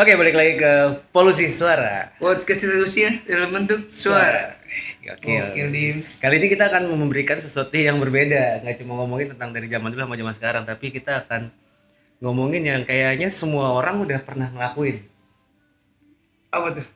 Oke, balik lagi ke polusi suara. Podcast Rusia dalam bentuk suara. Gokil. Gokil, Dims. Kali ini kita akan memberikan sesuatu yang berbeda, nggak cuma ngomongin tentang dari zaman dulu sama zaman sekarang, tapi kita akan ngomongin yang kayaknya semua orang udah pernah ngelakuin. Apa tuh?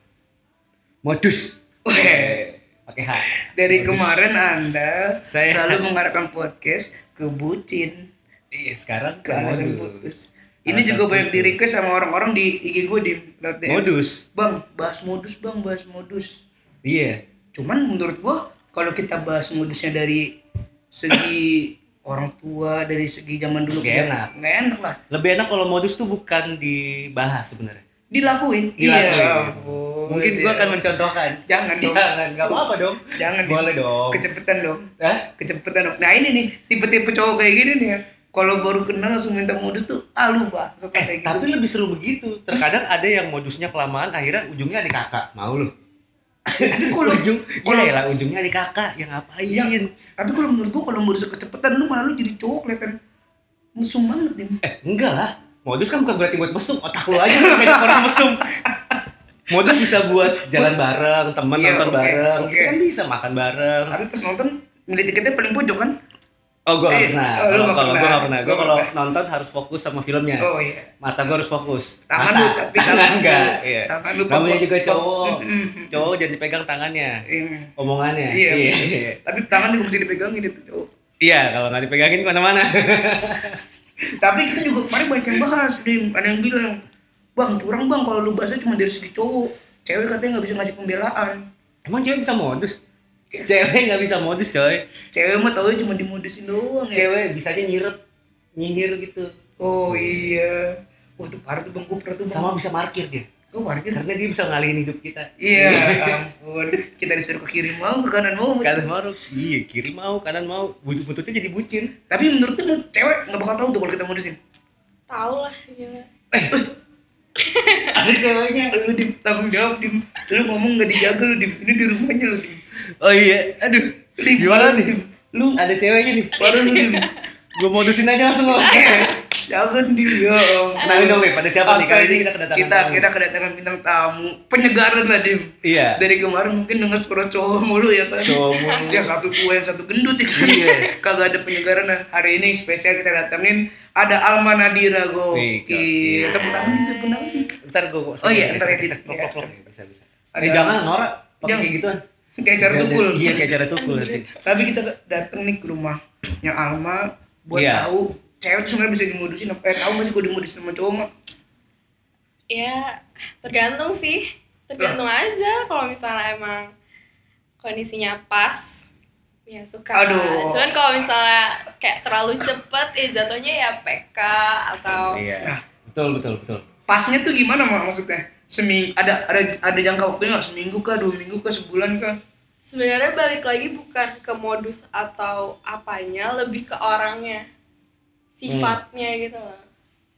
Modus Weh. pakai H. Dari kemarin Anda Saya- selalu mengarahkan podcast ke bucin, Iya, sekarang ke ke alasan modus. putus. Ini Alasan juga banyak di putus. request sama orang-orang di IG gue di lewat DM. Modus. Bang, bahas modus, Bang, bahas modus. Iya. Cuman menurut gue kalau kita bahas modusnya dari segi orang tua, dari segi zaman dulu Nggak enak. nggak enak lah. Lebih enak kalau modus tuh bukan dibahas sebenarnya. Dilakuin. Ya Dilakuin. ampun, Mungkin gua ya. akan mencontohkan. Jangan dong. Jangan, nggak apa-apa dong. Jangan Boleh Dim. dong. Kecepetan dong. Hah? Kecepetan dong. Nah ini nih tipe-tipe cowok kayak gini nih. ya. Kalau baru kenal langsung minta modus tuh, ah lu bang, suka Eh, kayak gitu. Tapi lebih seru begitu. Terkadang ada yang modusnya kelamaan, akhirnya ujungnya adik kakak. Mau lu? Tapi kalau Ujung, kalau ya lah ujungnya adik kakak. Ya ngapain? Iya. tapi kalau menurut gua kalau modus kecepetan lu malah lu jadi cowok kelihatan mesum banget nih. Eh, enggak lah. Modus kan bukan berarti buat mesum. Otak lu aja yang ngajak orang mesum. Modus bisa buat jalan bareng, temen Iya, nonton oke, bareng. oke. Itu kan bisa makan bareng. Tapi pas nonton milih tiketnya paling pojok kan? Oh, gua nggak Eh, pernah. oh, lu Kalau nggak kalau gua pernah. nggak pernah. Gua Gua kalau pernah. nonton harus fokus sama filmnya. Oh iya. Mata gua harus fokus. Tangan Mata. lu tapi tangan tangan lu. enggak. Iya. Tangan lu Namanya pokok- juga cowok. Mm-mm. Cowok jangan dipegang tangannya. Iya. Omongannya. Iya. Iya. Tapi tangan juga mesti dipegangin itu cowok. Iya, kalau nggak dipegangin kemana-mana. Tapi kita juga kemarin banyak yang bahas, Dim. Ada yang bilang, Bang, curang bang kalau lu bahasnya cuma dari segi cowok. Cewek katanya nggak bisa ngasih pembelaan. Emang cewek bisa modus? Cewek nggak bisa modus, coy. Cewek mah tau cuma dimodusin doang ya. Cewek bisanya nyirep, nyinyir gitu. Oh iya. Wah tuh parah tuh bang, gue pernah tuh bang. Sama bisa markir dia. Gue parkir. Karena dia bisa ngalihin hidup kita. Iya, ampun. Kita disuruh ke kiri mau, ke kanan mau. Kanan mau, iya kiri mau, kanan mau. Bu- Buntutnya jadi bucin. Tapi menurut lu cewek nggak bakal tahu tuh kalau kita modusin. Tahu lah gila. Ada ceweknya. Lu dim tanggung jawab dim. Lu ngomong nggak dijaga lu dim. Ini di rumahnya lu dim. Oh iya, aduh. Gimana nih? Lu ada ceweknya nih. Parah lu dim. Gue modusin aja langsung lo. Jangan dim ya. ampun. Kenalin dong, Lim. Ada Nah, siapa nih? Asal Kali ini nih, kita kedatangan kita, tamu. kita kedatangan bintang tamu. Penyegaran lah dim. Iya. Dari kemarin mungkin denger suara cowok mulu ya kan. Cowok mulu. Ya satu kuen satu gendut ya. kan? Iya. Kagak ada penyegaran. Nah, hari ini spesial kita datengin ada Alma Wih, Nadira gokil. gokil. Tepuk tangan, tepuk tangan. Ntar gue Oh iya, ntar edit. Klok klok klok. Bisa bisa. Eh Ada- jangan Nora pakai Jangan. kayak gituan. Kayak cara Jangan- tukul. Iya kayak cara tukul nanti. Tapi kita dateng nih ke rumahnya Alma buat Iya. tahu cewek tuh sebenarnya bisa dimodusin apa eh, tahu nggak sih gue dimodusin sama cowok mah Ya tergantung sih. Tergantung aja kalau misalnya emang kondisinya pas ya suka lah. Aduh. cuman kalau misalnya kayak terlalu cepet ya jatuhnya ya PK atau Iya. Nah. Betul betul betul. pasnya tuh gimana mah maksudnya seminggu ada ada ada jangka waktunya nggak seminggu kah dua minggu kah sebulan kah sebenarnya balik lagi bukan ke modus atau apanya lebih ke orangnya sifatnya gitu loh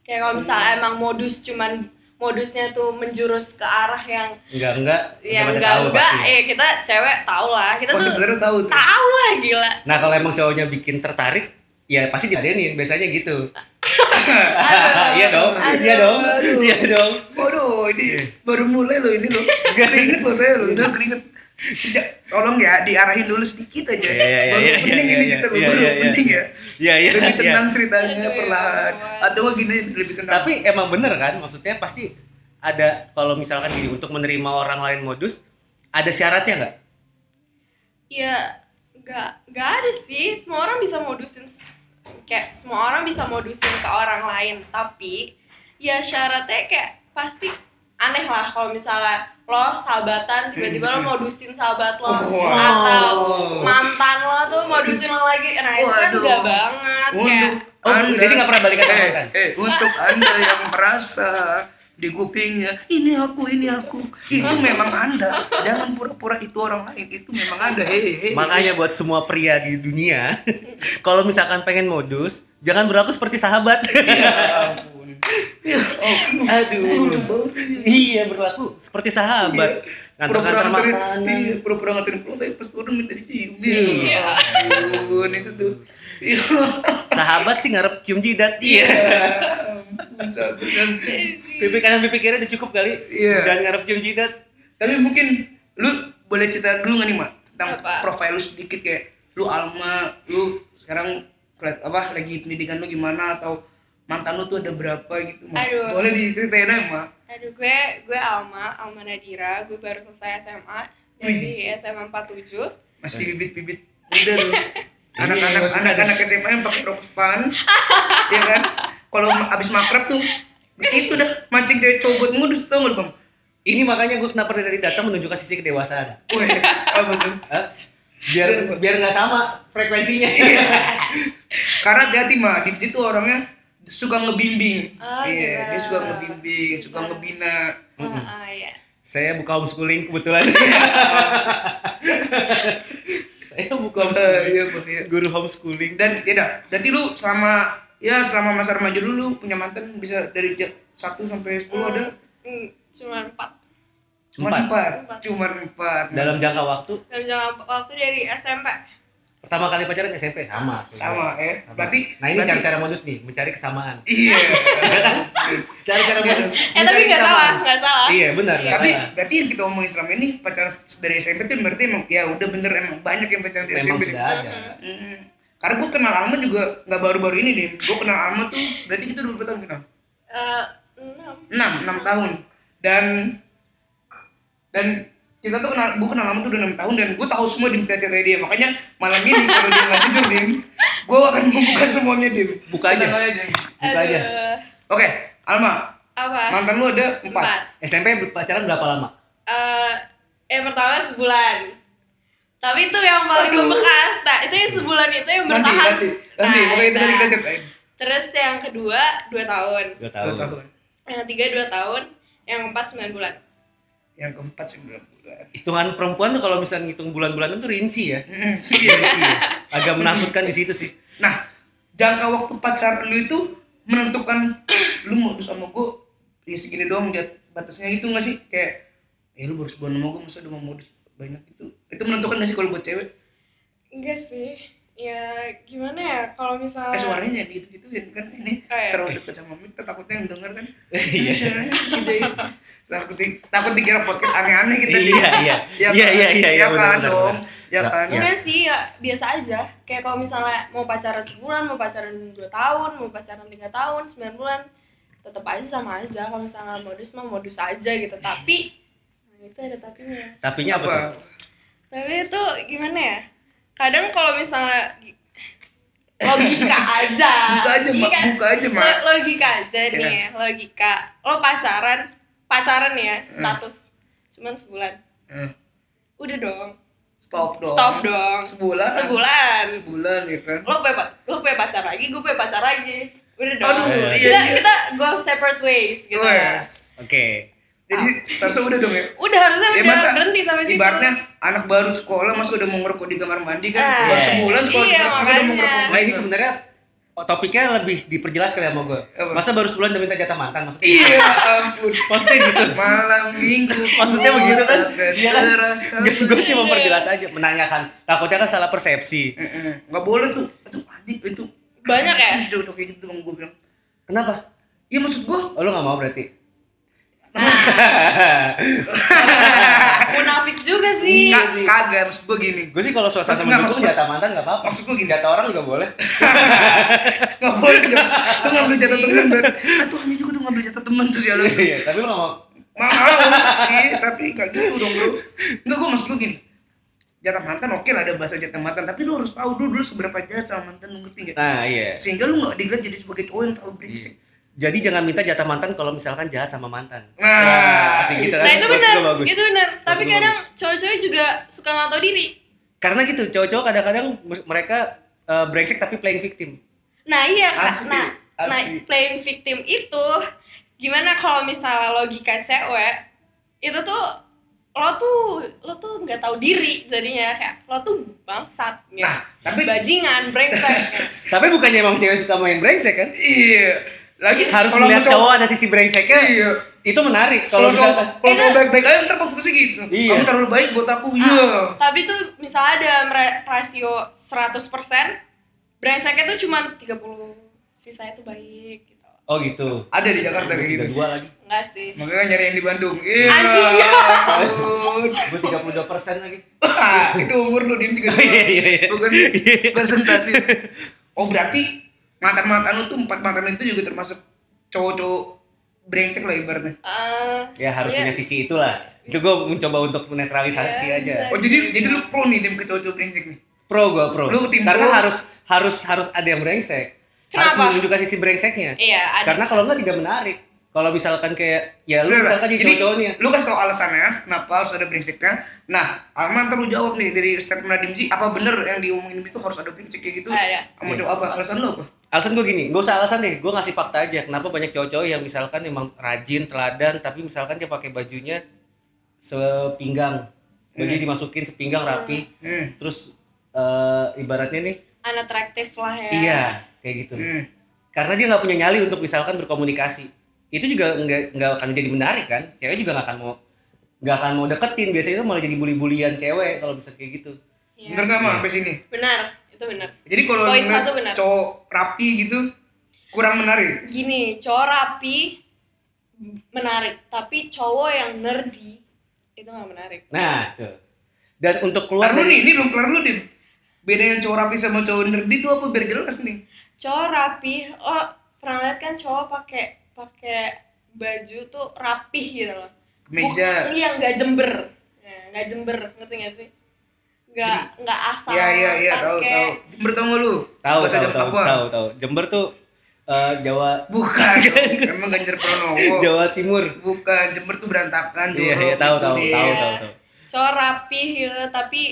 kayak kalau misalnya emang modus cuman modusnya tuh menjurus ke arah yang Enggak enggak. yang udah pada enggak tahu enggak pasti. Iya, eh kita cewek tau lah kita oh tuh sebenarnya tahu tuh tau lah gila Nah kalau emang cowoknya bikin tertarik, ya pasti diadenin. Biasanya gitu. Aduh. Iya dong. Aduh. Iya dong. Aduh. Iya dong. Waduh, Iya. ini baru mulai loh ini loh. Keringet loh saya loh, udah keringet. Ja- tolong ya diarahin dulu sedikit aja. Iya iya Ya, baru iya iya pening iya ini iya kita iya, baru iya, iya. pening ya. Iya iya. Lebih iya. tenang ceritanya Aduh, ya perlahan. Allah. Atau nggak gini lebih tenang. Tapi emang bener kan? Maksudnya pasti ada kalau misalkan gini untuk menerima orang lain modus ada syaratnya nggak? ya nggak nggak ada sih semua orang bisa modusin kayak semua orang bisa modusin ke orang lain tapi ya syaratnya kayak pasti aneh lah kalau misalnya lo sahabatan tiba-tiba lo modusin sahabat lo Wow. atau mantan lo tuh modusin lo lagi nah itu kan Waduh. enggak banget kayak untuk Oh, jadi nggak pernah balikan sama eh, mantan? eh, untuk anda yang merasa di kupingnya ini aku ini aku itu Iya. memang anda jangan pura-pura itu orang lain itu memang anda hehehe Makanya buat semua pria di dunia, kalau misalkan pengen modus, jangan berlaku seperti sahabat. ya ampun ya Oh. ampun Lucu Aduh. banget ini. Iya, berlaku seperti sahabat. pura-pura Ngantar-ngantar nganterin makanan. iya pura-pura nganterin pulang tapi pas turun minta dicium Iya. ya ampun itu tuh iya Sahabat sih ngarep cium jidat. Iya. ampun, sabar, kan. Jadi, pipi kanan pipi kiri udah cukup kali Iya. jangan ngarep cium jidat Tapi mungkin lu boleh cerita dulu nggak nih mak tentang Apa? profil lu sedikit kayak lu alma, lu sekarang keliat- apa lagi pendidikan lu gimana atau mantan lu tuh ada berapa gitu mak? Aduh. Boleh diceritain aja mak? Aduh, gue gue Alma, Alma Nadira, gue baru selesai SMA dari SMA 47. Masih bibit-bibit muda lu. Iya, Eh. Anak-anak masih anak-anak SMA yang pakai rok span, ya kan? Kalau ma- abis makrab tuh itu dah mancing cewek cowok buat modus tau nggak lu, bang? ini makanya gue kenapa dari tadi datang menunjukkan sisi kedewasaan Wes, apa tuh? Hah? Iya. biar biar nggak sama frekuensinya Karena hati mah di situ orangnya suka ngebimbing. Ah, Iya, iya. dia suka ngebimbing, suka ngebina. Ah, ah, ya. saya buka homeschooling kebetulan Iya. saya buka Eh, homeschooling iya, Bang, iya. guru homeschooling Dan tidak, berarti lu selama ya selama masa remaja dulu lu punya mantan bisa dari jam 1 sampai 10 ada Hmm, cuma 4. cuma Empat. empat, Empat. cuma empat. dalam jangka waktu Dalam jangka waktu dari SMP. pertama kali pacaran SMP sama sama ya. Sama. Berarti nah ini berarti- cara-cara modus nih mencari kesamaan Iya. cara-cara modus Eh, tapi mencari nggak salah, kesamaan. nggak salah. iya benar nggak Tapi salah berarti yang kita omongin selama ini pacaran dari SMP tuh berarti emang ya udah bener emang banyak yang pacaran dari memang SMP. sudah ada Mm. Karena gue kenal Alma juga nggak baru-baru ini deh. Gue kenal Alma tuh berarti kita udah berapa tahun kenal? Eh, enam. 6, 6 tahun. Dan dan kita tuh kenal, gue kenal Alma tuh udah 6 tahun dan gue tahu semua di cerita dia. Makanya malam ini kalau dia nggak jujur Dim, gue akan membuka semuanya Dim. Buka aja. Tenang Dim. Buka aja. Aduh, Oke, Alma, Apa? mantan lu ada 4. Empat. SMP pacaran berapa lama Eh, yang pertama sebulan. Tapi itu yang paling membekas. Nah, itu yang sebulan itu yang Nanti, bertahan. nanti, nanti, Nah, pokoknya itu nanti nah. kita ceritain. Terus yang kedua dua tahun. dua Dua tahun tahun. Yang ketiga dua tahun. Yang keempat sembilan bulan. Yang keempat 9 bulan. hitungan perempuan tuh kalau misalnya ngitung bulan-bulan itu rinci ya Mm. rinci ya agak menakutkan di situ sih Nah, jangka waktu pacaran lu itu menentukan lu mau sama gue ya segini doang dia batasnya gitu nggak sih kayak ya lu baru sebulan sama gue masa udah mau modus banyak gitu itu menentukan nggak sih kalau buat cewek Enggak sih. Ya gimana ya kalau eh misalnya suaranya jadi gitu gitu kan ini Oh, iya. terlalu dekat sama mic takutnya yang denger kan Iya. Suaranya gitu ya. takut di- takut dikira podcast aneh-aneh gitu iya iya Ya iya kan? iya iya iya Ya benar, kan benar, dong benar. ya Ya, kan ya. Enggak sih, ya biasa aja. Kayak kalau misalnya mau pacaran sebulan, mau pacaran dua tahun, mau pacaran tiga tahun, sembilan bulan, tetap aja sama aja. Kalau misalnya modus mah modus aja gitu. Tapi, nah itu ada tapinya. Iya, tapinya apa, tuh Tapi itu gimana ya? Kadang kalau misalnya logika aja. buka aja mak Iya kan? buka aja mak Lo- logika aja Iya. nih, logika. Lo pacaran, pacaran ya, Hmm. status. Cuman sebulan. Eh, Udah dong. stop dong Stop dong. sebulan Sebulan. Oh, sebulan ya kan Lo punya, pa- lo punya pacar lagi, gue punya pacar lagi. Udah dong. iya, Aduh, kita, iya. kita go separate ways gitu. Wes. oke Jadi seharusnya udah dong ya. Udah harusnya Ya, udah masa berhenti sampai situ. Ibaratnya anak baru sekolah masa udah mau ngerokok di kamar mandi kan Ah. baru sebulan sekolah Iya, ngerokok, masa udah mau makanya. ngerokok. nah ini sebenarnya topiknya lebih diperjelas kali ya sama gue Apa? masa baru sebulan udah minta jatah mantan maksudnya Iya ampun. maksudnya gitu Malam minggu. Maksudnya begitu kan? Iya Iya kan? Terasa. gue iya. cuma memperjelas aja menanyakan takutnya kan salah persepsi Heeh. Enggak Eh, boleh tuh. Itu anjing itu. Banyak ya? Itu udah kayak gitu bang gue bilang. kenapa Iya maksud gue oh, lo nggak mau berarti Nah, Munafik juga sih. Iya ka- sih. kagak maksud gue gini. gue sih kalau suasana Maksud- nggak, mendukung maksud- jatah mantan nggak apa-apa Maksud gue gini. jatah orang juga boleh Enggak boleh dong. Lu ngambil jatah temen dan tuh anjing juga tuh ngambil jatah temen terus ya lu. iya tapi lo nggak mau mau sih tapi gak gitu dong bro enggak gue maksud gue gini jatah mantan oke lah ada bahasa jatah mantan tapi lu harus tahu dulu dulu seberapa jahat sama mantan lu ngerti gak nah iya sehingga lu gak dilihat jadi sebagai cowok yang terlalu brengsek jadi jangan minta jatah mantan kalau misalkan jahat sama mantan Nah. asik gitu kan Nah itu Maksud benar, gua bagus. itu benar. Tapi gua kadang cowok-cowok juga suka nggak tahu diri. karena gitu cowok-cowok kadang-kadang mes- mereka eh, brengsek tapi playing victim Nah iya kak, Asli, nah, asli. nah playing victim itu gimana kalau misalnya logika cewek itu tuh lo tuh lo tuh nggak tahu diri jadinya kayak lo tuh bangsat gitu. Nah, tapi- bajingan brengsek. ya. tapi bukannya emang cewek suka main brengsek kan iya lagi harus kalau melihat sama cowok ada sisi brengseknya iya itu menarik kalau kalau cowok misalkan kalau Itu- cowok baik-baik aja ntar fokusnya gitu Iya. kamu terlalu baik buat aku Iya. Ah, iya Tapi tuh misalnya ada mer- rasio 100% brengseknya tuh cuma 30 sisa itu baik gitu. Oh gitu. ada di Jakarta kayak gitu Tiga dua lagi. Enggak sih. makanya nyari yang di Bandung iya Anjing. ampun. Gue 32 persen lagi. Wah, itu umur lu diem tiga Iya, iya, iya. bukan presentasi oh berarti mantan mantan lu tuh empat mantan itu juga termasuk cowok-cowok brengsek lah ibaratnya Eh, Ya harus iya. punya sisi itulah. Itu gue mencoba untuk menetralisasi Iya, aja. bisa. oh jadi jadi lu pro nih diem ke cowok-cowok brengsek nih Pro gue pro. Lu tim Karena pro. harus harus harus ada yang brengsek. Kenapa? Harus menunjukkan sisi brengseknya. Iya, ada. Karena kalau enggak tidak menarik. Kalau misalkan kayak ya lu Sebenarnya, misalkan jadi cowok-cowoknya. lu kasih tau alasannya kenapa harus ada brengseknya nah Alman ntar lu jawab nih dari statement Dimzi apa bener yang diomongin itu harus ada brengsek kayak gitu Ada. kamu Iya. jawab apa alasan lu apa alasan gue gini gak usah alasan deh gue ngasih fakta aja kenapa banyak cowok-cowok yang misalkan memang rajin teladan tapi misalkan dia pakai bajunya sepinggang baju Hmm. dimasukin sepinggang rapi hmm. terus eh, ibaratnya nih unattractive lah ya. iya kayak gitu hmm. karena dia nggak punya nyali untuk misalkan berkomunikasi itu juga nggak nggak akan jadi menarik kan cewek juga nggak akan mau nggak akan mau deketin biasanya itu malah jadi bully-bulian cewek kalau bisa kayak gitu Iya. bener gak mah sampai sini Benar, itu benar. jadi kalau Poin menurut satu benar. cowok rapi gitu kurang menarik Gini, cowok rapi menarik, tapi cowok yang nerdy itu nggak menarik. nah tuh dan untuk keluar Ntar dulu dari nih, ini belum kelar dulu dim Bedanya cowok rapi sama cowok nerdy itu apa biar jelas nih Cowok rapi, lo pernah lihat kan cowok pakai pakai baju tuh rapih gitu loh. Kemeja Bukan- Iya, nggak jember. Nah, nggak jember, ngerti nggak sih? Nggak nggak asal. Iya iya iya tahu pakai- tahu Jember tau nggak lu? tahu Bahasa tahu Jam- tahu apa? tahu tahu Jember tuh eh, Jawa Bukan Emang Ganjar Pranowo Jawa Timur. Bukan Jember tuh berantakan Iya, jorok iya tahu gitu tahu deh. tahu Iya. tahu tahu. Cowok rapi gitu, tapi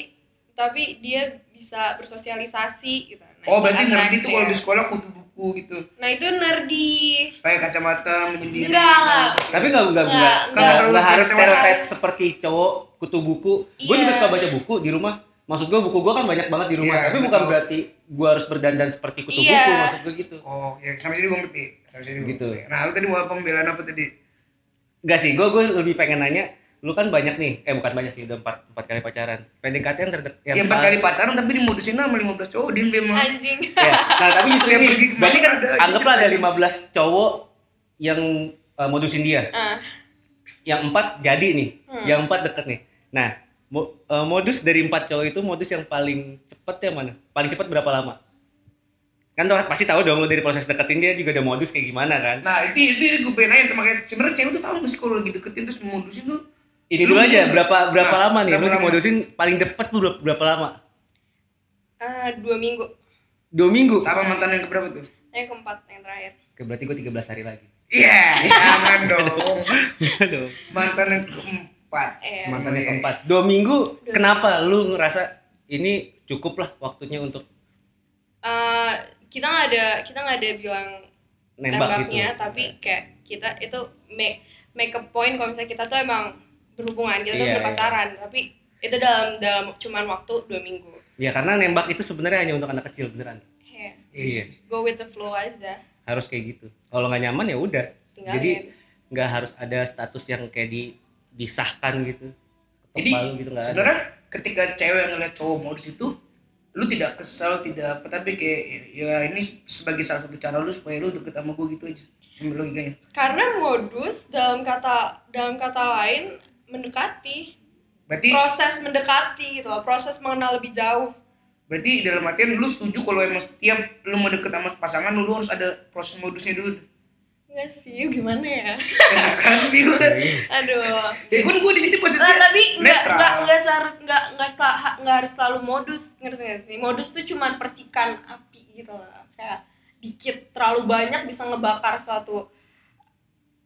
tapi dia bisa bersosialisasi gitu. Nah, Oh itu berarti nerdy atraktif. tuh kalau di sekolah kutu buku gitu Nah itu nerdy. Pakai kacamata menyendiri gitu. Enggak, enggak. Tapi nggak nggak Nggak, nggak nggak. nggak- nggak harus Nggak harus. stereotip seperti cowok kutu buku. Gue Iya. juga suka baca buku di rumah. Maksud gue buku gue kan banyak banget di rumah. Iya, Tapi betul. bukan berarti gue harus berdandan seperti kutu Iya. buku. Maksud gue gitu. Oh ya sampai sini gue ngerti Sampai sini gua Gitu. ngerti. Nah lu tadi mau pembelaan apa tadi? Gak sih. Gue gue lebih pengen nanya. Lu kan banyak nih. Eh bukan banyak sih. Udah empat empat kali pacaran. PDKT yang terdekat. Yang Ya, empat kali pacaran tapi dimodusin sama 15 cowok Dim dia mah Anjing. Ya, nah tapi justru Yang ini, pergi kemana berarti kan ada gitu. anggaplah ada 15 cowok yang eh, modusin dia. Ah. Yang empat jadi nih, yang empat deket nih. Nah, mo- eh, modus dari empat cowok itu modus yang paling cepet yang mana? Paling cepet berapa lama? Kan tau- pasti tahu dong lo dari proses deketin dia juga ada modus kayak gimana kan? Nah itu itu gue pengen nanya tuh, makanya sebenarnya cewek tuh tahu nggak sih kalau lagi deketin terus memudusin tuh Ini dulu Lu aja mungkin- berapa berapa Nah, lama nih berapa lo lama? dimodusin paling cepet tuh berapa, berapa lama? Ah, dua minggu. Dua minggu. sama mantan yang keberapa tuh? Yang keempat yang terakhir. Oke, berarti gue 13 hari lagi. Iya, jangan dong. Aduh. Mantan yang keempat. Eh, mantannya keempat Iya. dua minggu kenapa lu ngerasa ini cukup lah waktunya untuk eh, kita nggak ada kita nggak ada bilang nembak gitu tembaknya, tapi kayak kita itu make make a point kalau misalnya kita tuh emang berhubungan, kita tuh Iya, berpacaran, tapi itu dalam dalam cuman waktu dua minggu. ya karena nembak itu sebenarnya hanya untuk anak kecil beneran Yeah. Iya. Go with the flow aja. harus kayak gitu kalau nggak nyaman ya udah Tinggalin. jadi nggak harus ada status yang kayak di disahkan gitu Jadi, Ketok palu gitu nggak ada Sebenarnya ketika cewek ngeliat cowok modus itu, lu tidak kesal, tidak apa, tapi kayak ya ini sebagai salah satu cara lu supaya lu deket sama gue gitu aja. Menurut logikanya. Karena modus dalam kata dalam kata lain mendekati Berarti proses mendekati gitu loh proses mengenal lebih jauh berarti dalam artian lu setuju kalau emang setiap lu mau deket sama pasangan lu, lu harus ada proses modusnya dulu. Enggak sih, gimana ya? Kan bingung. Iya. Aduh. Ya kan gue di sini Nah, posisinya tapi enggak netral. enggak enggak seharus enggak enggak, sel- ha- enggak harus selalu modus, ngerti gak sih? Modus tuh cuman percikan api gitu loh. Kayak dikit terlalu banyak bisa ngebakar suatu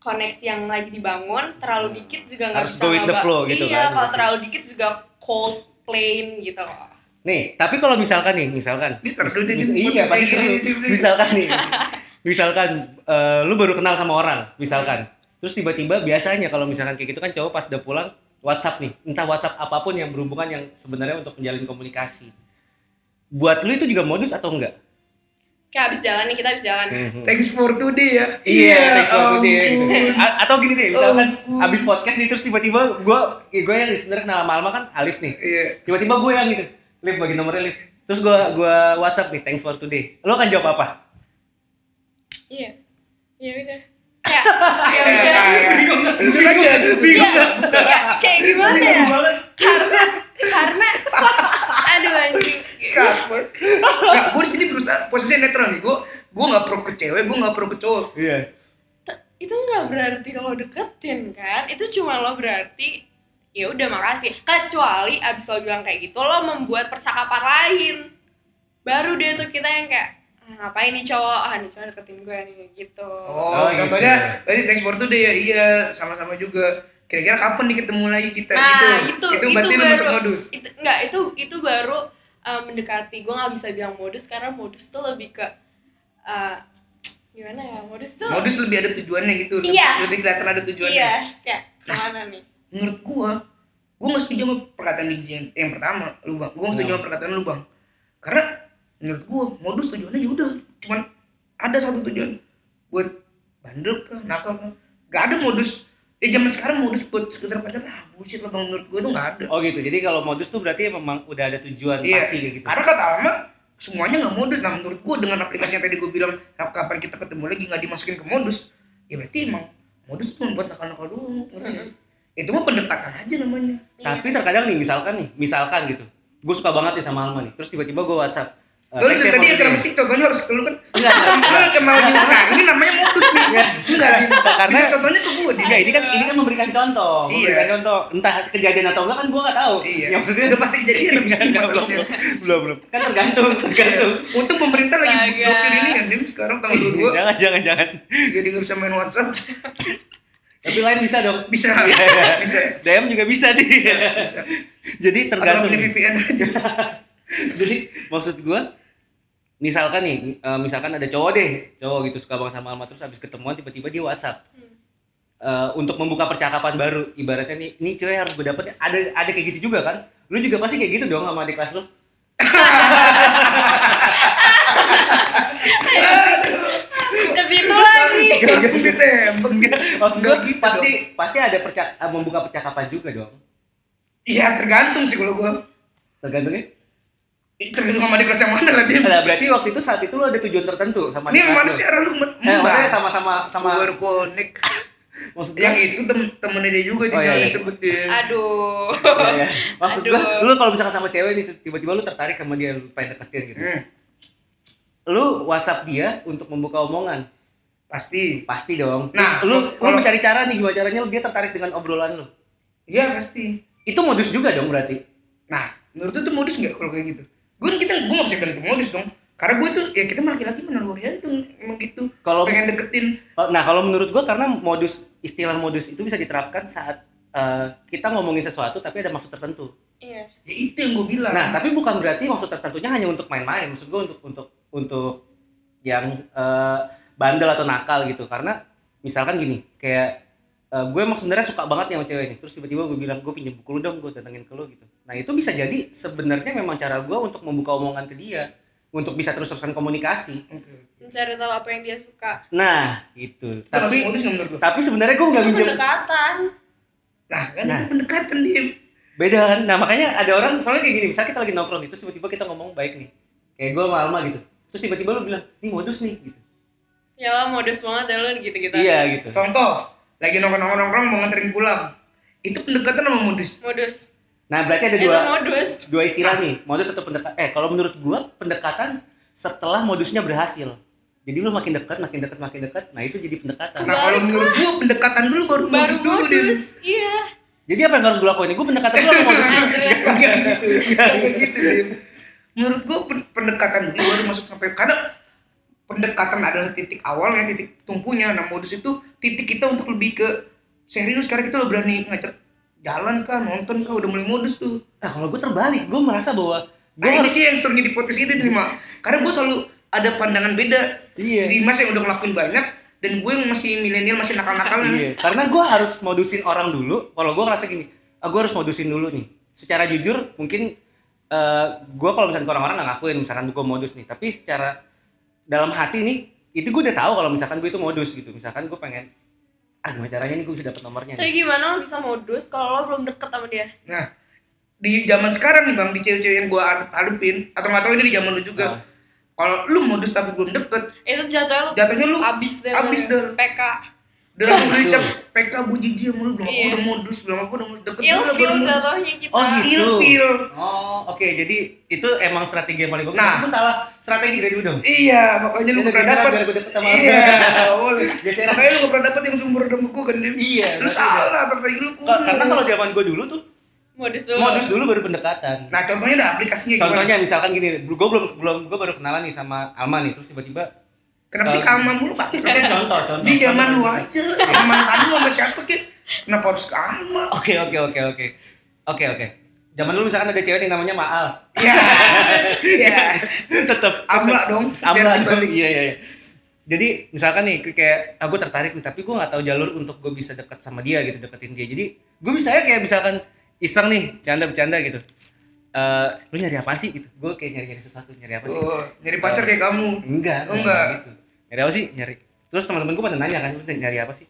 koneksi yang lagi dibangun, terlalu dikit juga nggak Harus bisa go with the ngeba- flow gitu iya, kan, kalau berarti. terlalu dikit juga cold plain gitu loh. nih tapi kalau misalkan nih misalkan Ini seru deh, mis- ini iya podcast pasti kayak seru gini. misalkan nih misalkan eh, lu baru kenal sama orang misalkan terus tiba-tiba biasanya kalau misalkan kayak gitu kan cowok pas udah pulang WhatsApp nih entah WhatsApp apapun yang berhubungan yang sebenarnya untuk menjalin komunikasi buat lu itu juga modus atau enggak Kayak habis jalan nih, kita habis jalan. Hmm. Thanks for today ya. Iya, thanks waktu dia. gitu. ampun. Ya A- atau gini deh, misalkan Ampun. abis podcast nih terus tiba-tiba gue, gue yang sebenarnya kenal sama Alma kan Alif nih, Iya. tiba-tiba gue yang gitu, Alif bagi nomornya Alif, terus kan gue gua WhatsApp nih, thanks for today, lo akan jawab apa? Iya. ya udah kayak ya udah Bingung nggak? Jujur aja, ya, Iya. bingung Iya. nggak? kayak, kayak gimana ya Bingung banget. karena karena aduh anjing Skateboard. Nggak, gue di sini berusaha posisi netral nih. Gue gue nggak pro ke cewek, gue nggak pro ke cowok. Iya. T- itu nggak berarti lo deketin kan itu cuma lo berarti ya udah makasih kecuali abis lo bilang kayak gitu lo membuat percakapan lain baru deh tuh kita yang kayak "Ah, ngapain nih cowok ah nih cowok deketin gue nih gitu Oh, Oh, contohnya tadi thanks for today ya iya sama-sama juga. Kira-kira kapan nih ketemu lagi kita? nah gitu. itu itu, berarti lu masuk modus. itu nggak itu itu baru uh, mendekati gue nggak bisa bilang modus karena modus tuh lebih ke uh, gimana ya modus tuh Modus lebih ada tujuannya gitu. lebih- Iya. Lebih kelihatan ada tujuannya. iya kayak kemana nih Menurut gua, gua nggak setuju sama perkataan di yang, yang pertama lu bang. Gua nggak setuju sama perkataan lu bang. Karena menurut gua modus tujuannya ya udah cuman ada satu tujuan buat bandel ke nakal ke gak ada modus ya zaman sekarang modus buat sekedar pacaran ah bullshit lah bang menurut gua itu gak ada Oh gitu. Jadi kalau modus tuh berarti memang udah ada tujuan Iya. pasti kayak gitu. Karena kata Alma semuanya nggak modus. Nah menurut gue dengan aplikasi yang tadi gue bilang "Kap- kapan kita ketemu lagi nggak dimasukin ke modus, ya berarti emang modus cuma buat nakal-nakal doang. ngerti nggak sih? Ya, Itu mah pendekatan aja namanya. Tapi terkadang nih misalkan nih, misalkan gitu. Gue suka banget nih sama Alma nih. Terus tiba-tiba gue WhatsApp. eh, Lo thanks dari ya tadi for ya today. kenapa sih contohnya harus ke lu kan? Enggak, Lo kenal juga. Nah, ini namanya modus nih. Enggak, Karena- bisa contohnya ke gue nih. Enggak, ini kan ini kan memberikan contoh, Iya. memberikan contoh. Entah kejadian atau enggak kan gua enggak tahu. Iya. Ya maksudnya Udah pasti kejadian Enggak, habis ini enggak, masalahnya. belum, belum, belum. Kan tergantung, tergantung. Iya. Untung pemerintah lagi Astaga. blokir ini kan, Dim. Sekarang Iya. tanggal 22 jangan, jangan, jangan. jadi nggak bisa main WhatsApp. Tapi lain bisa dong. Bisa, Iya, bisa. DM juga bisa sih. Bisa. Jadi Atau tergantung. beli VPN aja. Jadi maksud gua misalkan nih, eh, misalkan ada cowok deh, cowok gitu suka banget sama Alma terus habis ketemuan tiba-tiba dia WhatsApp. Hmm. Eh, untuk membuka percakapan baru ibaratnya nih ini cewek harus gue dapetin ada ada kayak gitu juga kan lu juga pasti kayak gitu dong sama adik kelas lu Iya. ke situ lagi Langsung ditembak. enggak maksud gue Enggak gitu pasti pasti ada percak eh, membuka percakapan juga dong Iya tergantung sih kalau gua. ya. tergantungnya Tergantung sama di kelas yang mana lah dia. nah, berarti waktu itu saat itu lo ada tujuan tertentu sama Ini adik yang kelas mana lu. sih arah lu men- Eh, maksudnya membahas. sama-sama- sama- Gua baru connect. maksud gue Yang itu tem temennya dia juga Iya. Oh, dia iya, iya. disebutin. aduh Iya, iya. maksud gue Aduh. lu kalau misalkan sama cewek nih tiba-tiba lu tertarik sama dia lu pengen deketin gitu Hmm, lu WhatsApp dia untuk membuka omongan pasti. pasti dong Terus Nah, lu lu kalau- mencari cara nih gimana caranya dia tertarik dengan obrolan lu Iya pasti. itu modus juga dong berarti Nah, menurut lu tuh modus nggak kalau kayak gitu? Gue kita gue nggak bisa bilang itu modus dong. Karena gue tuh ya kita mah laki-laki menaluri aja tuh emang gitu. kalau Pengen deketin. nah kalau menurut gua karena modus istilah modus itu bisa diterapkan saat eh, kita ngomongin sesuatu tapi ada maksud tertentu iya Ya itu yang gue bilang. Nah, tapi bukan berarti maksud tertentunya hanya untuk main-main. Maksud gue untuk untuk untuk yang eh, bandel atau nakal gitu. Karena misalkan gini, kayak eh, gue emang sebenarnya suka banget nih sama cewek ini. Terus tiba-tiba gue bilang gue pinjem buku lu dong, gue datengin ke lu gitu. Nah, itu bisa jadi sebenarnya memang cara gue untuk membuka omongan ke dia, untuk bisa terus-terusan komunikasi. Oke. mencari tahu apa yang dia suka Nah, gitu. Itu masuk Tapi modus nggak menurut gue? tapi sebenarnya gue nggak itu minjem pendekatan Nah, kan Nah. itu pendekatan dia. beda kan nah makanya ada orang soalnya kayak gini misalnya kita lagi nongkrong gitu terus tiba-tiba kita ngomong baik nih kayak gue sama Alma gitu terus tiba-tiba lu bilang nih modus nih gitu ya lah modus banget ya lu gitu-gitu iya gitu Contoh, lagi nongkrong-nongkrong mau nganterin pulang. Itu pendekatan sama modus. modus nah berarti ada itu dua modus dua istilah nih modus atau pendekatan eh kalau menurut gue pendekatan setelah modusnya berhasil jadi lu makin dekat makin dekat makin dekat nah itu jadi pendekatan Nah, kalau Balik menurut gua pendekatan dulu baru baru modus dulu deh. modus iya jadi apa yang harus gue lakuin gue pendekatan dulu sama modus Aduh. Enggak gitu. Enggak gitu, Dim. Menurut gua pen- pendekatan dulu baru masuk sampai karena pendekatan adalah titik awalnya, titik tumpunya. Nah, modus itu titik kita untuk lebih ke serius karena kita udah berani ngajak jalan kah, nonton kah, udah mulai modus tuh. nah kalau gue terbalik gue merasa bahwa gue Nah, ini harus dia yang serunya di podcast ini, Dim. Mak. Karena gua selalu ada pandangan beda iya Dimas yang udah ngelakuin banyak dan gue yang masih milenial masih nakal-nakalnya. Iya, karena gue harus modusin orang dulu. Kalau gue ngerasa gini, ah, gue harus modusin dulu nih. Secara jujur, mungkin eh gue kalau misalkan ke orang-orang nggak ngakuin, misalkan gue modus nih. Tapi secara dalam hati nih, itu gue udah tahu kalau misalkan gue itu modus gitu. Misalkan gue pengen, ah gimana caranya nih gue bisa dapet nomornya tapi nih. gimana lo bisa modus kalau lo belum deket sama dia Nah, di zaman sekarang nih Bang, di cewek-cewek yang gue hadepin atau nggak tahu ini di zaman lu juga. Ah. kalau lu modus tapi belum deket Eh, itu jatuhnya lu jatuhnya lu abis deh lu. abis deh. PK udah aku udah dicap PK bu jijik sama lu belum aku Iya. udah modus belum aku udah modus deket dulu, ill feel baru modus jatuhnya kita Oh, gitu. ilfeel Oh, oke. Jadi itu emang strategi yang paling bagus. Nah. Nah, salah strategi dari lu dong. iya makanya lu Lu gak pernah geser, dapet biar gua dapet sama lu. iya nggak boleh Geser. makanya lu gak pernah dapet yang sumber dengku kan Dim Iya, lu berarti salah tertanya lu Ka- Karena kuno. kalau zaman gue dulu tuh modus dulu modus dulu baru pendekatan. nah contohnya udah aplikasinya gimana? Contohnya misalkan gini, gue belum belum gue baru kenalan nih sama Alma nih, terus tiba-tiba kenapa sih Eh, keaman mulu pak Oke, contoh, contoh. di zaman lu aja mantan lu sama siapa kan kenapa harus keaman Oke, oke, oke, oke. Oke, oke. Zaman dulu misalkan ada cewek yang namanya Maal. iya iya Tetep amla dong biar Amla dibalik. iya iya iya. jadi misalkan nih kayak aku tertarik nih tapi gue nggak tahu jalur untuk gue bisa dekat sama dia gitu deketin dia jadi gue bisa ya kayak misalkan iseng nih bercanda bercanda gitu Eh, lu nyari apa sih gitu gue kayak nyari nyari sesuatu nyari apa sih Oh, nyari pacar kayak kamu enggak Oh, enggak. gitu nyari apa sih nyari terus teman-teman gue pada nanya kan "Lu nyari apa sih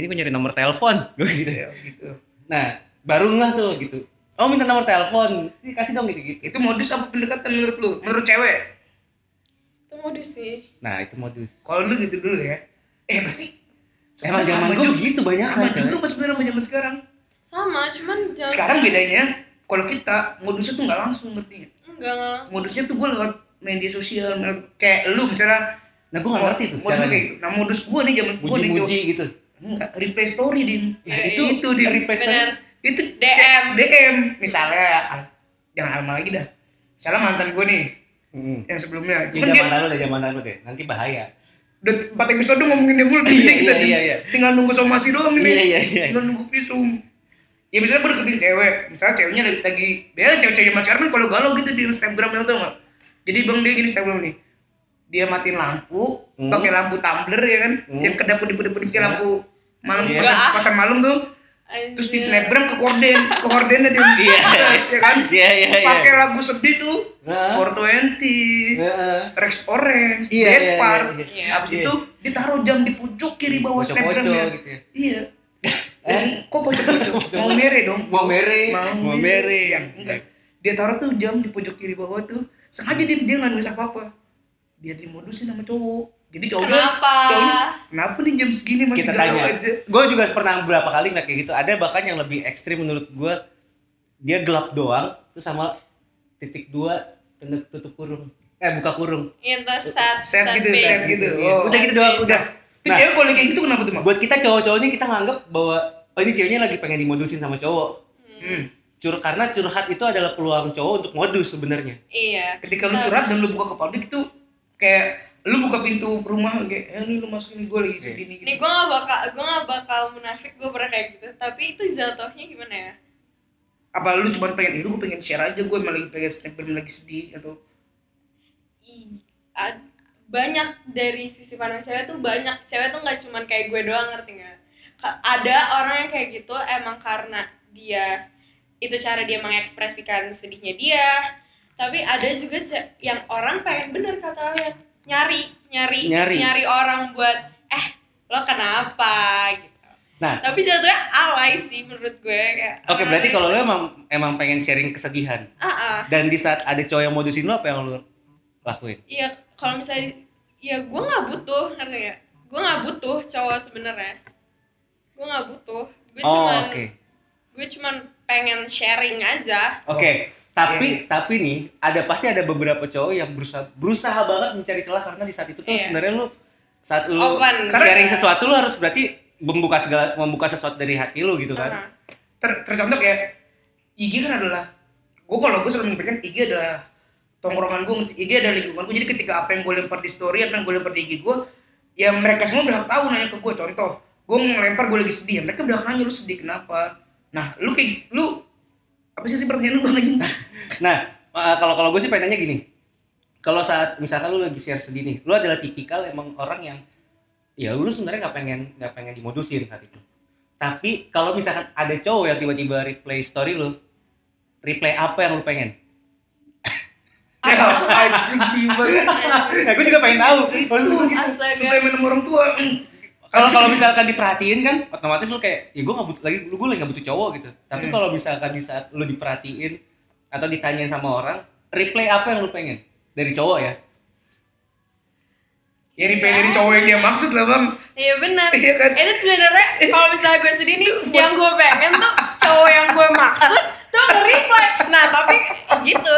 ini gue nyari nomor telepon gue gitu Iya, gitu nah baru nggak tuh gitu oh minta nomor telepon Ih, kasih dong gitu gitu itu modus apa pendekatan menurut lu menurut cewek itu modus sih nah itu modus kalau lu gitu dulu ya eh berarti emang zaman gue begitu ya, banyak sama juga pas bener sama zaman sekarang sama cuman jangan sekarang bedanya kalau kita modusnya tuh nggak langsung ngerti nggak? enggak enggak modusnya tuh gue lewat media sosial lewat- kayak lu misalnya nah gue nggak ngerti tuh modus caranya. kayak gitu. nah modus gue nih zaman gue nih cowok muji-muji gitu. Enggak, replay story din Nah, Iya, itu iya. itu di request bener itu DM. DM misalnya Al- jangan alma lagi dah misalnya mantan gue nih Heeh. yang sebelumnya itu Di kan dia zaman lalu dari zaman lalu deh, nanti bahaya. udah empat episode ngomongin dia mulu Iya, jadi kita iya, di- iya, iya. tinggal nunggu somasi doang nih Iya, iya, iya. tinggal nunggu visum ya misalnya gue deketin cewek misalnya ceweknya lagi, lagi ya cewek-cewek zaman sekarang kan kalau galau gitu di Instagram tau gak jadi bang dia gini Instagram nih dia matiin lampu Hmm. pakai lampu tumbler ya kan Hmm. yang kedap-kedip-kedip pakai Hmm. lampu malam Iya. kosan, kosan malam tuh Anjir. terus di snapgram ke korden ke kordennya dia Iya. ya kan Iya, iya, iya. pakai lagu sedih tuh Hah? 420 Heeh. Rex Orange Iya, iya, Despar iya, iya. abis Iya. itu ditaruh jam di pojok kiri bawah Pojok-pojok snapgramnya gitu ya. iya Eh? eh? kok pojok-pojok mau mere dong Mau mere, mau mere. Ya, enggak dia taruh tuh jam di pojok kiri bawah tuh sengaja dia dia nggak nulis apa apa biar dimodusin sama cowok jadi cowoknya Kenapa? cowoknya kenapa nih jam segini masih Kita galau tanya. aja Gue juga pernah beberapa kali ngeliat kayak gitu. Ada bahkan yang lebih ekstrim menurut gue. Dia gelap doang, terus sama titik dua tanda tutup kurung. Eh, buka kurung. itu sad Sad gitu, face. sad gitu. Oh. Udah gitu doang, udah. itu Nah. cewek kalau kayak gitu kenapa tuh mak Buat kita cowok-cowoknya kita nganggep bahwa oh ini ceweknya lagi pengen dimodusin sama cowok. hmm. Cur karena curhat itu adalah peluang cowok untuk modus sebenarnya. iya ketika Nah. lu curhat dan lu buka ke publik itu kayak lu buka pintu rumah kayak eh nih lu masukin gue Iya. lagi sedih nih gitu. Nih gue gak bakal gue gak bakal munafik gue pernah kayak gitu tapi itu jatuhnya gimana ya? apa lu cuma pengen itu gue pengen share aja gue emang lagi pengen snapgram lagi sedih atau I, ad- banyak dari sisi pandang cewek tuh banyak cewek tuh nggak cuman kayak gue doang ngerti nggak? Ka- Ada orang yang kayak gitu emang karena dia itu cara dia mengekspresikan sedihnya dia tapi ada juga ce- yang orang pengen bener kata kalian nyari nyari Nyari. orang buat eh lo kenapa gitu Nah, tapi jatuhnya alay sih menurut gue kayak Oke, berarti kalau lo orang-orang emang emang pengen sharing kesedihan Ah, ah. dan di saat ada cowok yang modusin lo apa yang lo lakuin? Iya, kalau misalnya ya gue nggak butuh, ngerti nggak? Gue nggak butuh cowok sebenarnya. Gue nggak butuh. Gue oh, cuman oke. gue cuman pengen sharing aja. Oke, tapi tapi nih ada pasti ada beberapa cowok yang berusaha berusaha banget mencari celah karena di saat itu tuh Iya. sebenarnya lo saat lo Open. sharing Karena- sesuatu lo harus berarti membuka segala membuka sesuatu dari hati lo gitu kan. Karena- ter tercontoh kayak IG kan adalah gue kalau gue selalu mikirkan IG adalah tongkrongan gue IG adalah lingkungan gue jadi ketika apa yang gue lempar di story apa yang gue lempar di IG gue ya mereka semua berhak tahu nanya ke gue contoh gue ngelempar gue lagi sedih ya mereka berhak nanya lu sedih kenapa nah lu kayak lu apa sih tadi pertanyaan lu lagi Nah, eh, kalau kalau gue sih pengennya gini. Kalau saat misalkan lu lagi share sedih nih, lu adalah tipikal emang orang yang ya lu sebenarnya nggak pengen nggak pengen dimodusin saat itu. Tapi kalau misalkan ada cowok yang tiba-tiba replay story lu, replay apa yang lu pengen? ya anjing gimana Nah, gue juga pengen tahu. Maksud gue gitu. susah Iya. Astaga. main sama orang tua Hmm. Kalau kalau misalkan diperhatiin kan, otomatis lu kayak ya gue nggak butuh lagi, lu gue lagi nggak butuh cowok gitu. Tapi Hmm. kalau misalkan di saat lu diperhatiin atau ditanyain sama orang, replay apa yang lu pengen dari cowok ya? ya repay dari cowok yang dia maksud lah bang Iya benar. Iya kan? Itu sebenarnya kalau misalnya gue sendiri nih, yang gue pengen tuh cowok yang gue maksud tuh nge-reply. Nah tapi gitu.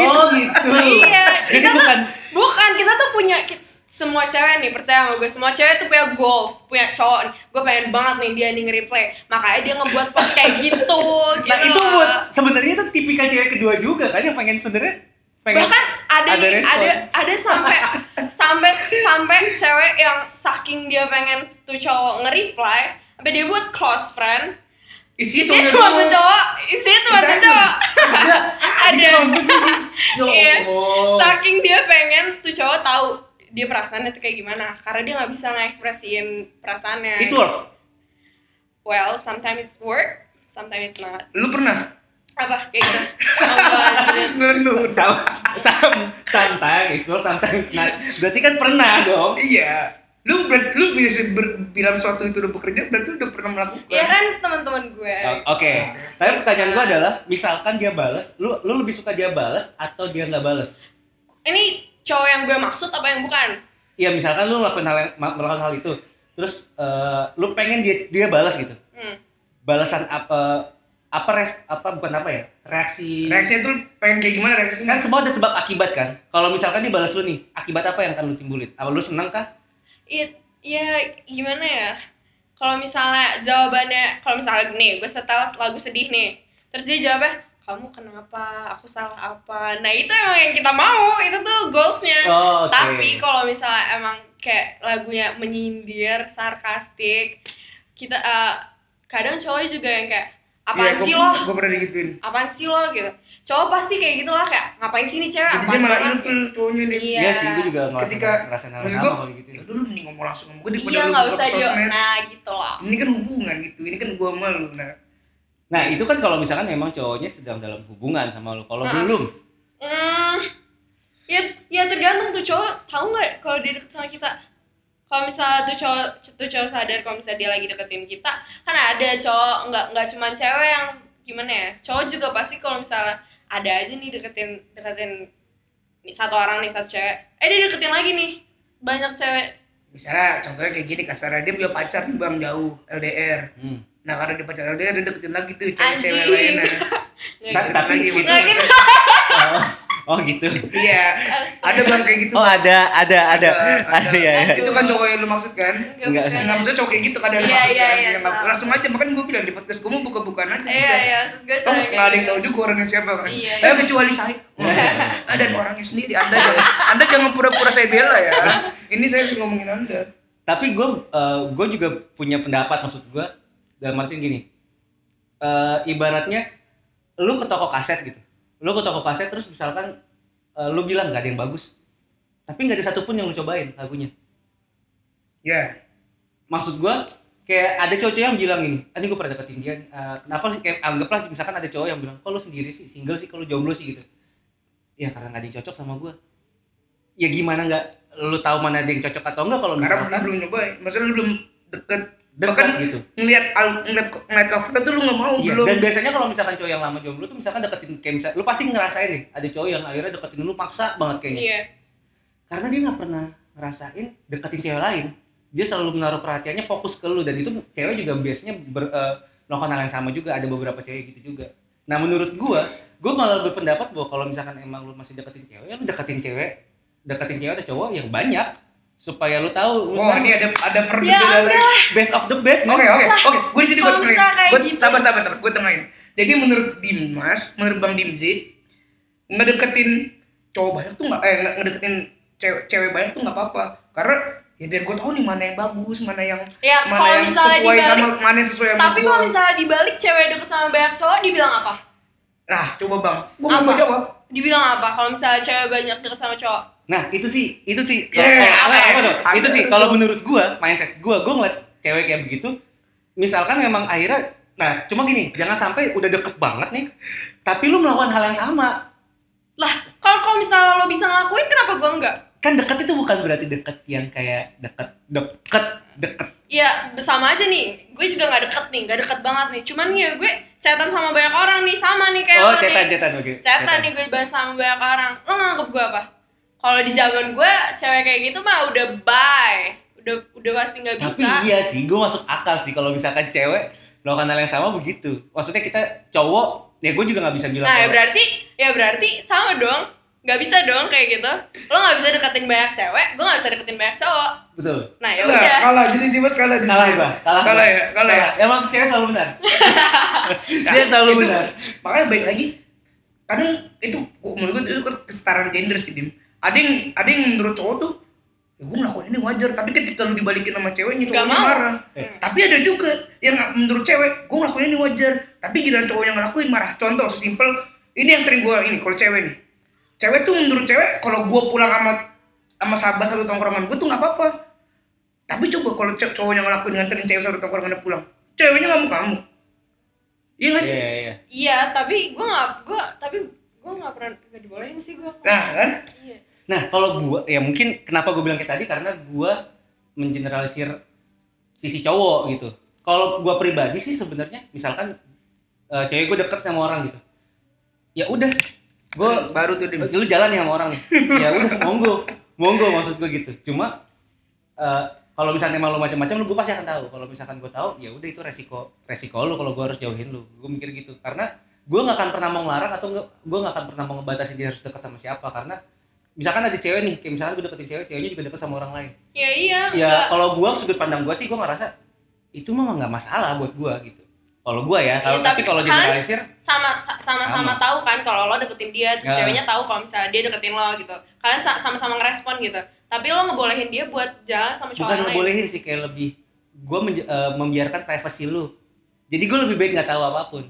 Oh gitu. Iya. Jadi Kita bukan tuh bukan kita tuh punya ki- semua cewek nih percaya sama gue semua cewek tuh punya goals punya cowok nih. gue pengen banget nih dia nih nge-reply makanya dia ngebuat post kayak gitu Nah gitu itu loh. buat sebenarnya itu tipikal cewek kedua juga kan yang pengen sebenarnya pengen bahkan ada ada ada respon. ada, ada sampai sampai sampai cewek yang saking dia pengen tuh cowok nge-reply sampai dia buat close friend isinya isinya cowoknya cuma doang. cowok isinya cuma Percaya cowok Itu ada maksudnya sih. Ya Iya. Allah. saking dia pengen tuh cowok tahu dia perasaannya tuh kayak gimana karena dia nggak bisa ngekspresiin perasaannya It works. well sometimes it's work sometimes it's not lu pernah apa kayak gitu Allah, anjir. Lu- Sam, sam, santai, it works sometimes. Nah, berarti kan pernah dong. iya lu berat- lu bisa ber- bilang suatu itu udah bekerja berarti lu udah pernah melakukan ya kan teman-teman gue Oh, Oke, tapi pertanyaan gua adalah, misalkan dia balas, lu lu lebih suka dia balas atau dia nggak balas? ini cowok yang gue maksud apa yang bukan Iya, misalkan lu melakukan hal yang- ma- melakukan hal itu, terus eh, lu pengen dia dia balas gitu. hmm. Balasan apa apa res apa bukan apa ya? Reaksi. reaksinya tuh pengen kayak gimana reaksinya Kan semua ada sebab akibat kan. Kalau misalkan dia balas lu nih, akibat apa yang akan lu timbulin? Apa lu senang kah? It, ya gimana ya? Kalau misalnya jawabannya, kalau misalnya nih, gue setel lagu sedih nih, terus dia jawabnya, kamu kenapa? Aku salah apa? Nah itu emang yang kita mau, itu tuh Eh, goalsnya. Oh, oke. Tapi kalau misalnya emang kayak lagunya menyindir, sarkastik, kita eh, kadang cowoknya juga yang kayak apaan sih lo? Iya, gue Iya, pernah digituin Apaan sih lo gitu. Cowok pasti kayak gitu lah kayak ngapain sih nih cewek? jadi dia Apaan malah banget?" ilfil cowoknya deh Iya. Iya sih, gue juga ngelakuin ya, Ketika- ngerasain hal yang maksud sama gua, kalau gitu. ya udah lu mending ngomong langsung sama gue daripada Iya lu nggak buka usah dia. sosmed Nah gitu loh. ini kan hubungan gitu ini kan gue malu nah Nah, itu kan kalau misalkan memang cowoknya sedang dalam hubungan sama lu. Kalau Heeh. belum, Hmm, ya, ya tergantung tuh cowok tahu nggak kalau dia deket sama kita. Kalau misalnya tuh cowok, tuh cowok sadar kalau misalnya dia lagi deketin kita, kan ada cowok nggak nggak cuma cewek yang gimana ya, cowok juga pasti kalau misalnya ada aja nih deketin deketin nih, satu orang nih satu cewek, eh dia deketin lagi nih banyak cewek. misalnya contohnya kayak gini kasarnya dia punya pacar nih bang jauh LDR hmm. nah karena dia pacar LDR dia deketin lagi tuh cewek-cewek Anjing. lainnya Ta- Gitu tapi lagi, itu Nggak gitu. oh, oh gitu. iya Eh, ada bang kayak gitu Oh, ada ada ada. Ada, Ada ya. ya. itu kan cowok yang lu maksud kan Nggak, bukan. Nah, maksudnya cowok kayak gitu kadang Iya, maksudnya iya, kan, iya, dia nggak- tahu. langsung aja makanya gue bilang di podcast gue mau buka-bukaan aja Iya iya, maksud gue Tahu nggak ada cewek yang kayak tahu juga orangnya siapa kan? Iya, Tapi iya. kecuali saya, Iya. Wah, dan orangnya sendiri. Anda jangan, Anda jangan pura-pura saya bela ya. Ini saya ngomongin Anda. Tapi gue gue juga punya pendapat maksud gue dalam artian gini. Eh, ibaratnya lu ke toko kaset gitu. Lu ke toko kaset terus misalkan eh, lu bilang nggak ada yang bagus. Tapi nggak ada satupun yang lu cobain lagunya. Ya, maksud gua kayak ada cowok-cowok yang bilang gini, tadi gue pernah dapetin dia, eh, kenapa sih kayak anggaplah misalkan ada cowok yang bilang, kok lu sendiri sih, single sih, kalau jomblo sih gitu. Ya karena gak ada yang cocok sama gua. Ya gimana nggak lu tahu mana ada yang cocok atau enggak kalau karena misalkan lu belum nyobain. Maksudnya lu belum deket dekat bahkan- gitu. ngelihat al- ngelihat ngelihat covernya tuh lu nggak mau Iya, belum. dan biasanya kalau misalkan cowok yang lama jomblo tuh misalkan deketin kayak misal, lu pasti ngerasain nih, ada cowok yang akhirnya deketin lu paksa banget gitu. kayaknya. Iya. Karena dia nggak pernah ngerasain deketin cewek lain. Dia selalu menaruh perhatiannya fokus ke lu dan itu cewek juga biasanya ber, eh, melakukan hal yang sama juga ada beberapa cewek gitu juga nah menurut gua gua malah berpendapat bahwa kalau misalkan emang lu masih deketin cewek ya lu deketin cewek deketin cewek atau cowok yang banyak supaya lu tahu Oh, misalkan ini ada ada Ya perbedaan. lagi. best of the best Oke, man. oke, oke. Gue di sini gue Kalau tengahin. misalnya kayak Gue gitu. sabar, sabar, sabar. Gue tengahin. Jadi menurut Dimas, menurut Bang Dimzi, ngedeketin cowok banyak tuh nggak, eh nge- ngedeketin cewek, cewek banyak tuh nggak apa-apa. Karena ya biar gue tahu nih mana yang bagus, mana yang Ya mana kalau yang misalnya sesuai dibalik sama mana yang sesuai sama Tapi gua. kalau misalnya dibalik cewek deket sama banyak cowok dibilang apa? Nah, coba bang, gue nggak mau Apa? jawab. Dibilang apa kalau misalnya cewek banyak deket sama cowok? nah itu sih itu sih Eh, Yeah, apa apa- ya? apa tuh? Apa itu sih tuh? kalau menurut gua mindset gua gua ngeliat cewek kayak begitu misalkan memang akhirnya nah cuma gini jangan sampai udah deket banget nih tapi lu melakukan hal yang sama Lah, kalau kalau misalnya lo bisa ngelakuin kenapa gua enggak? kan deket itu bukan berarti deket yang kayak deket deket deket Ya sama aja nih, gue juga nggak deket nih, nggak deket banget nih. Cuman ya gue chatan sama banyak orang nih, sama nih kayak oh lo nih. cetan cetan oke Chatan nih gue bahas sama banyak orang. Lo nganggep gue apa? kalau di zaman gue cewek kayak gitu mah udah bye udah udah pasti nggak Tapi bisa iya sih, gue masuk akal sih kalau misalkan cewek melakukan hal yang sama begitu. Maksudnya kita cowok, ya gue juga nggak bisa bilang. nah ya kalau- berarti ya berarti sama dong nggak bisa dong kayak gitu lo nggak bisa deketin banyak cewek gue nggak bisa deketin banyak cowok Betul. nah ya Kalah, udah kalah jadi Dimas kalah di Kalah sini. gue, kalah. Kalah gua. ya, kalah ya. Emang cewek selalu benar. Nah, Dia selalu itu- benar. Makanya baik lagi kadang itu menurut gue itu kesetaraan gender sih Dim. Ada yang ada yang menurut cowok tuh ya gue ngelakuin ini wajar tapi ketika lu dibalikin sama ceweknya Nggak cowoknya mau. marah Eh. tapi ada juga yang nggak- menurut cewek gue ngelakuin ini wajar tapi giliran cowok yang ngelakuin marah contoh sesimpel ini yang sering gue ini kalau cewek nih cewek tuh menurut cewek kalau gue pulang sama sama sahabat satu tongkrongan gue tuh nggak apa-apa tapi coba kalau cewek cowok yang ngelakuin nganterin cewek satu tongkrongan dia pulang ceweknya nggak mau kamu iya nggak sih Iya, iya. iya tapi gue nggak gue tapi gue nggak pernah nggak dibolehin sih gue nah kan iya Nah, kalau gua ya mungkin kenapa gue bilang kayak tadi karena gua mengeneralisir sisi cowok gitu. Kalau gua pribadi sih sebenarnya misalkan eh, cewek gue deket sama orang gitu. Ya udah, gue baru tuh Dim. lu jalan ya sama orang nih. Ya udah, monggo. Monggo maksud gue gitu. Cuma eh, kalau misalnya emang lu macam-macam lu gue pasti akan tahu. Kalau misalkan gue tahu, ya udah itu resiko resiko lu kalau gue harus jauhin lu. Gue mikir gitu. Karena gue nggak akan pernah mau ngelarang atau gue nggak akan pernah mau ngebatasin dia harus dekat sama siapa karena misalkan ada cewek nih, kayak misalkan gue deketin cewek, ceweknya juga deket sama orang lain. ya iya nggak. Ya kalau gue sudut pandang gue sih gue ngerasa itu mah nggak masalah buat gue gitu. Kalau gue ya, kalau Iya, tapi tapi kalau kan- generalisir sama sa- Sama. sama-sama tahu kan kalau lo deketin dia terus Ya. ceweknya tahu kalau misalnya dia deketin lo gitu kalian sa- sama-sama ngerespon gitu tapi lo ngebolehin dia buat jalan sama cowok bukan yang lain ngebolehin sih kayak lebih gue membiarkan privasi lu jadi gue lebih baik nggak tahu apapun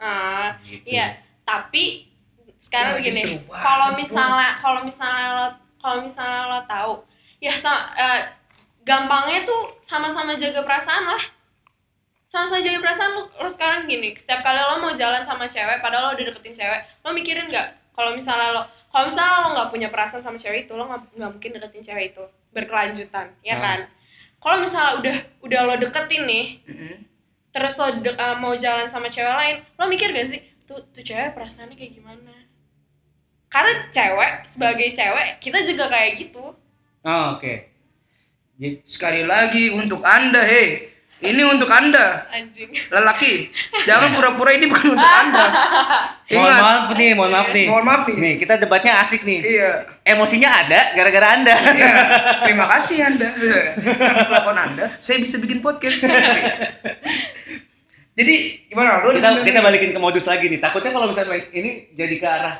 Ah, gitu iya tapi sekarang Wah, Nah, ini seru gini banget, kalau bro. misalnya kalau misalnya lo kalau misalnya lo tahu ya sa- eh, gampangnya tuh sama-sama jaga perasaan lah sama-sama jaga perasaan lo, lo sekarang gini setiap kali lo mau jalan sama cewek padahal lo udah deketin cewek lo mikirin nggak kalau misalnya lo kalau misalnya lo nggak punya perasaan sama cewek itu lo nggak nggak mungkin deketin cewek itu berkelanjutan ya Ah. kan kalau misalnya udah udah lo deketin nih Mm-mm. terus lo de- uh, mau jalan sama cewek lain lo mikir gak sih tuh tuh cewek perasaannya kayak gimana karena cewek sebagai cewek kita juga kayak gitu Oh, oke Jadi Sekali lagi untuk Anda, hei. Ini untuk Anda, anjing lelaki. Jangan pura-pura ini bukan untuk Anda. mohon Ingat, maaf nih mohon maaf nih mohon maaf nih. nih kita debatnya asik nih Iya. emosinya ada gara-gara anda Iya. Terima kasih Anda. Karena Telepon Anda, saya bisa bikin podcast. Jadi gimana lu? kita kita balikin ke modus lagi nih takutnya kalau misalnya ini jadi ke arah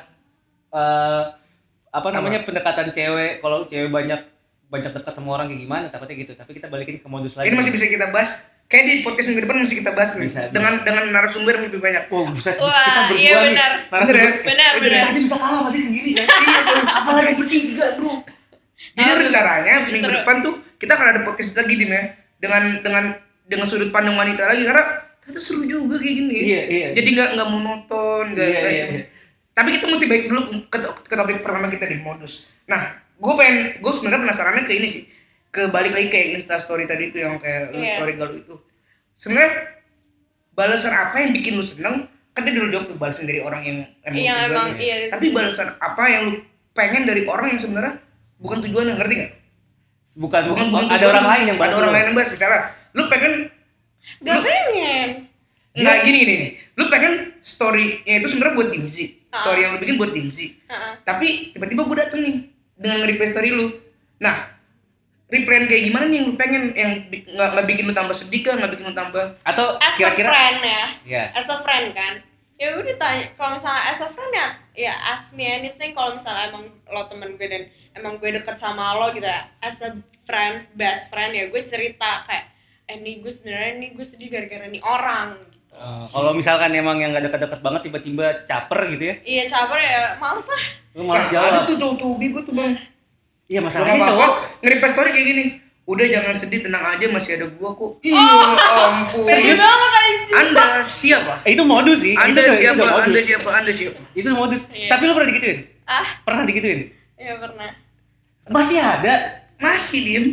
eh, apa namanya pendekatan cewek kalau cewek banyak banyak dekat sama orang kayak gimana takutnya gitu tapi kita balikin ke modus lagi Ini masih bisa kita bahas. Kayak di podcast minggu depan masih kita bahas nih. Bisa, bisa. dengan dengan narasumber yang lebih banyak. Wah, Oh, buset, Wah, kita berdua iya nih. benar. Narasumber. Bener ya? Benar, Eh, benar. Kita aja bisa kalah mati sendiri kan. Iya, bro. Apalagi bertiga, Bro. Jadi rencananya lebih minggu seru. depan tuh kita akan ada podcast lagi Dim ya dengan dengan dengan sudut pandang wanita lagi karena ternyata seru juga kayak gini. Iya, iya. Jadi nggak nggak monoton, nggak gitu. Iya, nggak iya, ini. iya. Tapi kita mesti baik dulu ke, ke topik pertama kita di modus. Nah, gue pengen gue sebenarnya penasarannya ke ini sih, ke balik lagi kayak Insta Story tadi itu yang kayak lu Iya. story galau itu. Sebenarnya balasan apa yang bikin lu seneng? Kan tadi lu jawab tuh balasan dari orang yang emang Iya, tujuannya. emang, iya. Tapi balasan apa yang lu pengen dari orang yang sebenarnya bukan tujuannya ngerti nggak? Bukan, bukan, bukan, bukan ada tujuan. orang lain yang bahas ada orang lu. lain yang bahas misalnya lu pengen gak pengen nggak gini gini nih lu pengen story-nya itu sebenarnya buat dimzi Ah. story yang lu bikin buat dimzi Heeh. tapi tiba-tiba gue dateng nih dengan nge-reply story lu nah reply kayak gimana nih yang lu pengen yang bi- nggak nggak bikin lu tambah sedih kan nggak bikin lu tambah Atau as a kira-kira friend ya ya. as a friend kan ya udah tanya kalau misalnya as a friend ya ya ask me anything kalau misalnya emang lo temen gue dan emang gue deket sama lo gitu ya as a friend best friend ya gue cerita kayak eh nih gue sebenarnya nih gue sedih gara-gara nih orang gitu Eh, kalau misalkan emang yang gak deket-deket banget tiba-tiba caper gitu ya iya caper ya males lah lu malah Nah, ada jawab tuh cowok-cowok gue tuh bang iya Sama masalahnya cowok cowok nge-reply story kayak gini udah jangan sedih tenang aja masih ada gua kok iya ampun Serius? banget anjing. anda siapa Eh, itu modus sih itu anda udah- itu siapa udah anda modus siapa anda siapa itu modus Iya. tapi lu pernah digituin Ah, iya, pernah digituin ya pernah. masih ada masih dim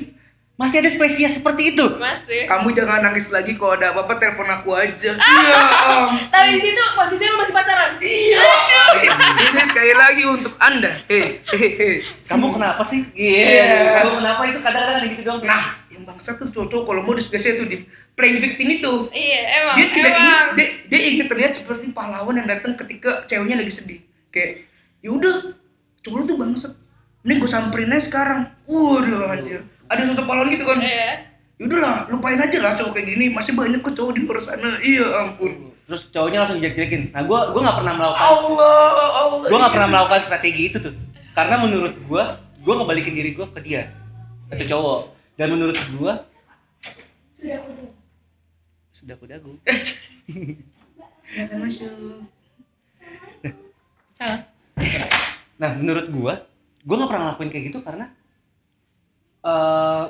Masih ada spesies seperti itu. masih Kamu jangan nangis lagi kalau ada apa-apa telepon aku aja. Iya. Om. tapi di situ posisinya lu masih pacaran Iya. Ini sekali lagi untuk Anda. Hei, hei, hei. Kamu kenapa sih? Iya. Kamu kenapa itu kadang-kadang ada gitu doang. Nah, yang bangsa tuh cowok kalau modus biasanya tuh di playing victim itu. iya emang Dia tidak ingin, emang dia, dia ingin terlihat seperti pahlawan yang datang ketika ceweknya lagi sedih. Kayak, yaudah, cowok lu tuh bangsat. Ini gue samperin aja sekarang. Waduh, anjir. Ada sosok pahlawan gitu kan. iya Yaudah lah, lupain aja lah cowok kayak gini. Masih banyak kok cowok di luar sana. Iya ampun. Terus cowoknya langsung dijek-jekin. Nah, gua gua nggak pernah melakukan Allah, Allah. gue nggak pernah melakukan strategi itu tuh karena menurut gue gue ngebalikin diri gue ke dia atau cowok dan menurut gue sudah aku dagu Silakan masuk. nah menurut gue gue nggak pernah ngelakuin kayak gitu karena eh,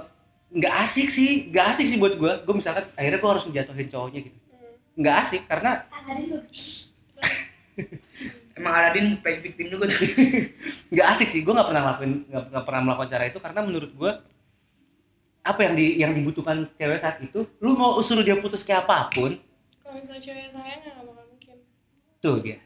nggak asik sih nggak asik sih buat gue gue misalkan akhirnya gue harus menjatuhin cowoknya gitu nggak asik karena Emang Aladin playing victim juga tuh. nggak asik sih gue nggak pernah ngelakuin nggak nggak pernah melakukan cara itu karena menurut gue apa yang di yang dibutuhkan cewek saat itu lu mau suruh dia putus kayak apapun kalau misalnya cewek sayang ya nggak bakal mungkin tuh dia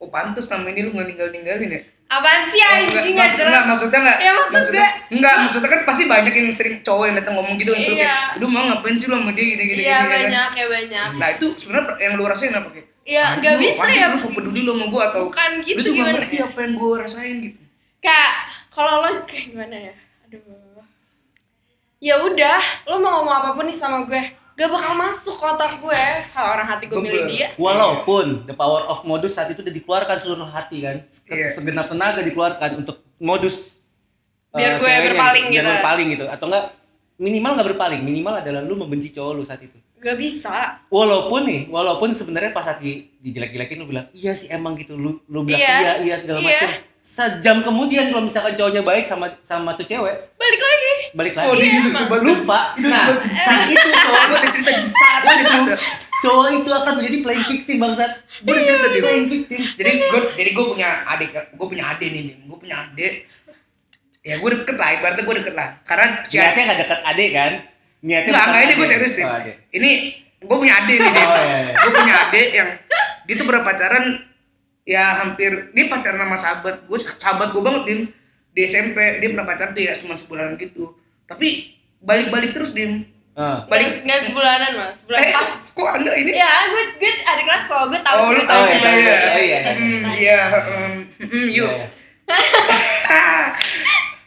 Oh pantas selama ini lu nggak ninggal ninggalin ya? apaan Oh, sih Iya, maksud- anjing nggak nggak, jelas maksudnya nggak? Ya, maksud maksudnya, gue- Nggak, maksudnya kan pasti banyak yang sering cowok yang datang ngomong gitu kan Iya. kayak, Aduh mau ngapain sih lu sama dia gini gini gini, iya ya kan? banyak ya banyak Nah itu sebenarnya yang lu rasain apa kayak? Iya, "Anjing, nggak lu bisa apaan sih? ya. Lu so peduli lu sama gua atau? bukan gitu lu tuh nggak gimana ngerti ya? apa yang gua rasain gitu. kayak kalau lo kayak gimana ya aduh ya udah lo mau ngomong apapun nih sama gue gak bakal masuk ke otak gue kalau orang hati gue milih Bener. dia Walaupun the power of modus saat itu udah dikeluarkan seluruh hati kan, Se- Iya. segenap tenaga dikeluarkan untuk modus eh, Biar gue ceweknya, berpaling biar gitu. berpaling gitu, atau enggak minimal nggak berpaling, minimal adalah lu membenci cowok lu saat itu. gak bisa Walaupun nih, walaupun sebenarnya pas saat di, dijelek-jelekin lu bilang iya sih emang gitu, lu lu bilang Iya. iya iya segala Iya. macem Sejam kemudian kalau misalkan cowoknya baik sama sama tuh cewek, balik lagi balik Oh lagi. dia emang. udah coba lupa. Itu Nah, coba- saat itu cowok Gue udah cerita gitu. saat itu cowok itu akan menjadi playing victim bangsat. Gue udah cerita di Playing victim. jadi gue jadi gue punya adik gue punya adik nih nih gue punya adik ya gue deket lah ibaratnya gue deket lah karena si adik Niatnya nggak dekat adik kan? Niatnya nggak bukan nggak ini adik. gue serius nih Oh, adik. ini gue punya adik nih Oh, iya, iya. gue punya adik yang dia tuh berpacaran ya hampir dia pacaran sama sahabat gue sahabat gue banget dim di SMP dia pernah pacaran tuh ya cuma sebulanan gitu tapi balik-balik terus dim Ah. Balik- Nggak- nggak sebulanan mas sebulan eh pas kok anda ini ya gue gue ada kelas lo gue tahu Oh, lu cerita tahu gue. cerita, iya, Gue iya, tahu iya. Hmm, cerita. iya hmm, hmm, yuk Iya, iya.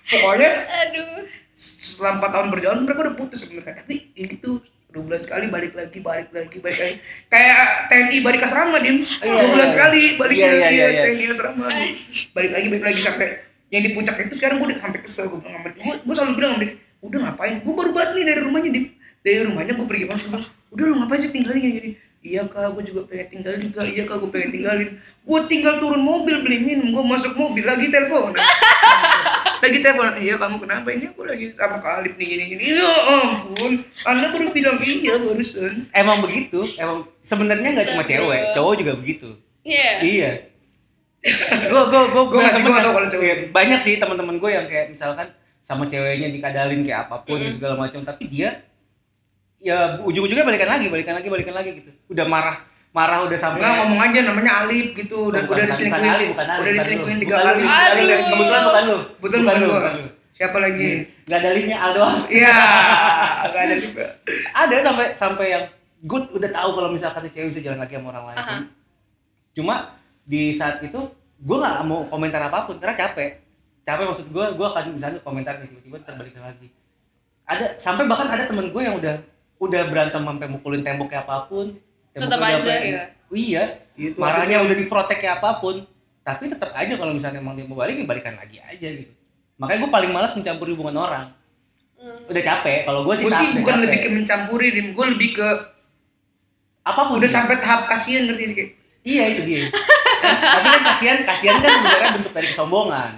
pokoknya aduh setelah empat tahun berjalan mereka udah putus sebenarnya tapi ya gitu dua bulan sekali balik lagi balik lagi balik lagi kayak TNI balik asrama dim iya, dua bulan iya. sekali balik Iya, lagi iya, iya, ya, iya. TNI asrama balik lagi balik lagi sampai yang di puncak itu sekarang gue udah sampai kesel gue bilang sama dia gue, gue selalu bilang sama dia udah ngapain gue baru banget nih dari rumahnya dim dari rumahnya gue pergi banget Gua bilang, udah lu ngapain sih tinggalin kayak gini iya kak gue juga pengen tinggalin kak iya kak gue pengen tinggalin gue tinggal turun mobil beli minum gue masuk mobil lagi telepon lagi telepon iya kamu kenapa ini aku lagi sama kalip nih gini gini ya ampun anda baru bilang iya barusan Emang begitu, emang sebenarnya nggak cuma cewek, cowok juga begitu. iya Iya. Gua gua gua Gua masih- temen gua yang- tau kalau cowok. iya, Banyak sih teman-teman gue yang kayak misalkan sama ceweknya dikadalin kayak apapun dan segala macam, tapi dia ya ujung-ujungnya balikan lagi, balikan lagi, balikan lagi gitu. Udah marah, marah udah sampai Enggak Nah, ngomong aja namanya Alip gitu udah Oh, Bukan, udah bukan, diselingkuhin bukan Ali, bukan Ali, udah bukan diselingkuhin lu. tiga Bukan kali lu, bukan lu, Aduh. kebetulan bukan lu Kebetulan bukan lu gua. bukan lu siapa lagi nggak ada liftnya Aldo iya nggak ada juga ada sampai sampai yang good udah tahu kalau misalkan cewek bisa jalan lagi sama orang lain Aha. cuma di saat itu gue nggak mau komentar apapun karena capek capek maksud gue gue akan misalnya komentar nih, tiba-tiba terbalik lagi ada sampai bahkan ada temen gue yang udah udah berantem sampai mukulin tembok kayak apapun tembok Tetep udah aja apa- gitu. iya Gitu, marahnya aduh. udah diprotek kayak apapun tapi tetap aja kalau misalnya emang dia mau balik ya balikan lagi aja gitu makanya gue paling malas mencampuri hubungan orang Hmm. udah capek kalau gue sih, gue sih udah bukan capek. lebih ke mencampuri dim gue lebih ke apapun udah sih. sampai tahap kasihan ngerti sih kayak iya itu dia tapi kan kasihan kasihan kan sebenarnya bentuk dari kesombongan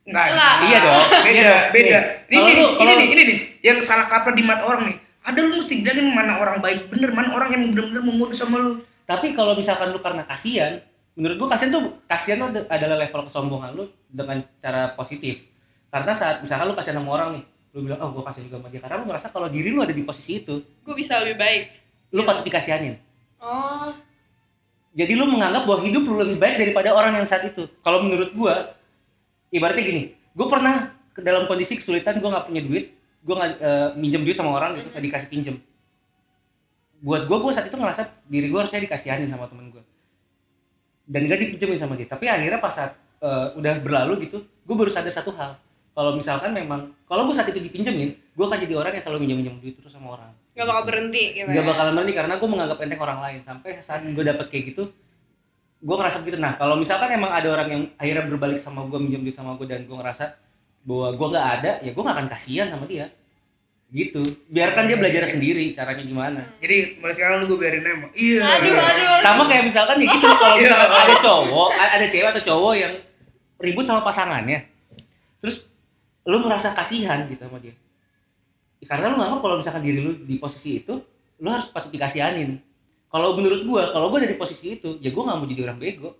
Enggak. Enggak. Iya dong. Iya Beda, dong. beda. Ini, Kalau ini, lu- ini kalau- nih, ini nih, yang salah kaprah di mata orang nih. Ada lu mesti bilangin mana orang baik bener, mana orang yang bener-bener memurus sama lu. tapi kalau misalkan lu karena kasihan menurut gue kasihan tuh kasihan tuh ad- adalah level kesombongan lu dengan cara positif karena saat misalkan lu kasihan sama orang nih lu bilang oh gue kasih juga sama dia karena lu ngerasa kalau diri lu ada di posisi itu gue bisa lebih baik lu patut dikasihanin oh jadi lu menganggap bahwa hidup lu lebih baik daripada orang yang saat itu kalau menurut gua ibaratnya gini gua pernah ke dalam kondisi kesulitan gua nggak punya duit gua nggak eh, minjem duit sama orang gitu nggak dikasih pinjem buat gua gua saat itu ngerasa diri gua harusnya dikasihanin sama temen gua dan gak dipinjemin sama dia tapi akhirnya pas saat eh, udah berlalu gitu gua baru sadar satu hal kalau misalkan memang kalau gua saat itu dipinjemin gua akan jadi orang yang selalu minjem minjem duit terus sama orang nggak bakal berhenti gitu nggak ya. bakalan berhenti karena gue menganggap enteng orang lain sampai saat gue dapet kayak gitu gue ngerasa begitu nah kalau misalkan emang ada orang yang akhirnya berbalik sama gue minjem duit sama gue dan gue ngerasa bahwa gue nggak ada ya gue nggak akan kasihan sama dia gitu biarkan dia belajar sendiri caranya gimana Jadi mulai sekarang lu gue biarin aja. Mau. Iya. aduh aduh aduh. sama kayak misalkan ya gitu kalau misalkan ada cowok a- ada cewek atau cowok yang ribut sama pasangannya terus lu merasa kasihan gitu sama dia Ya, karena lu nganggap kalau misalkan diri lu di posisi itu lu harus patut dikasihanin kalau menurut gua kalau gua ada di posisi itu ya gua nggak mau jadi orang bego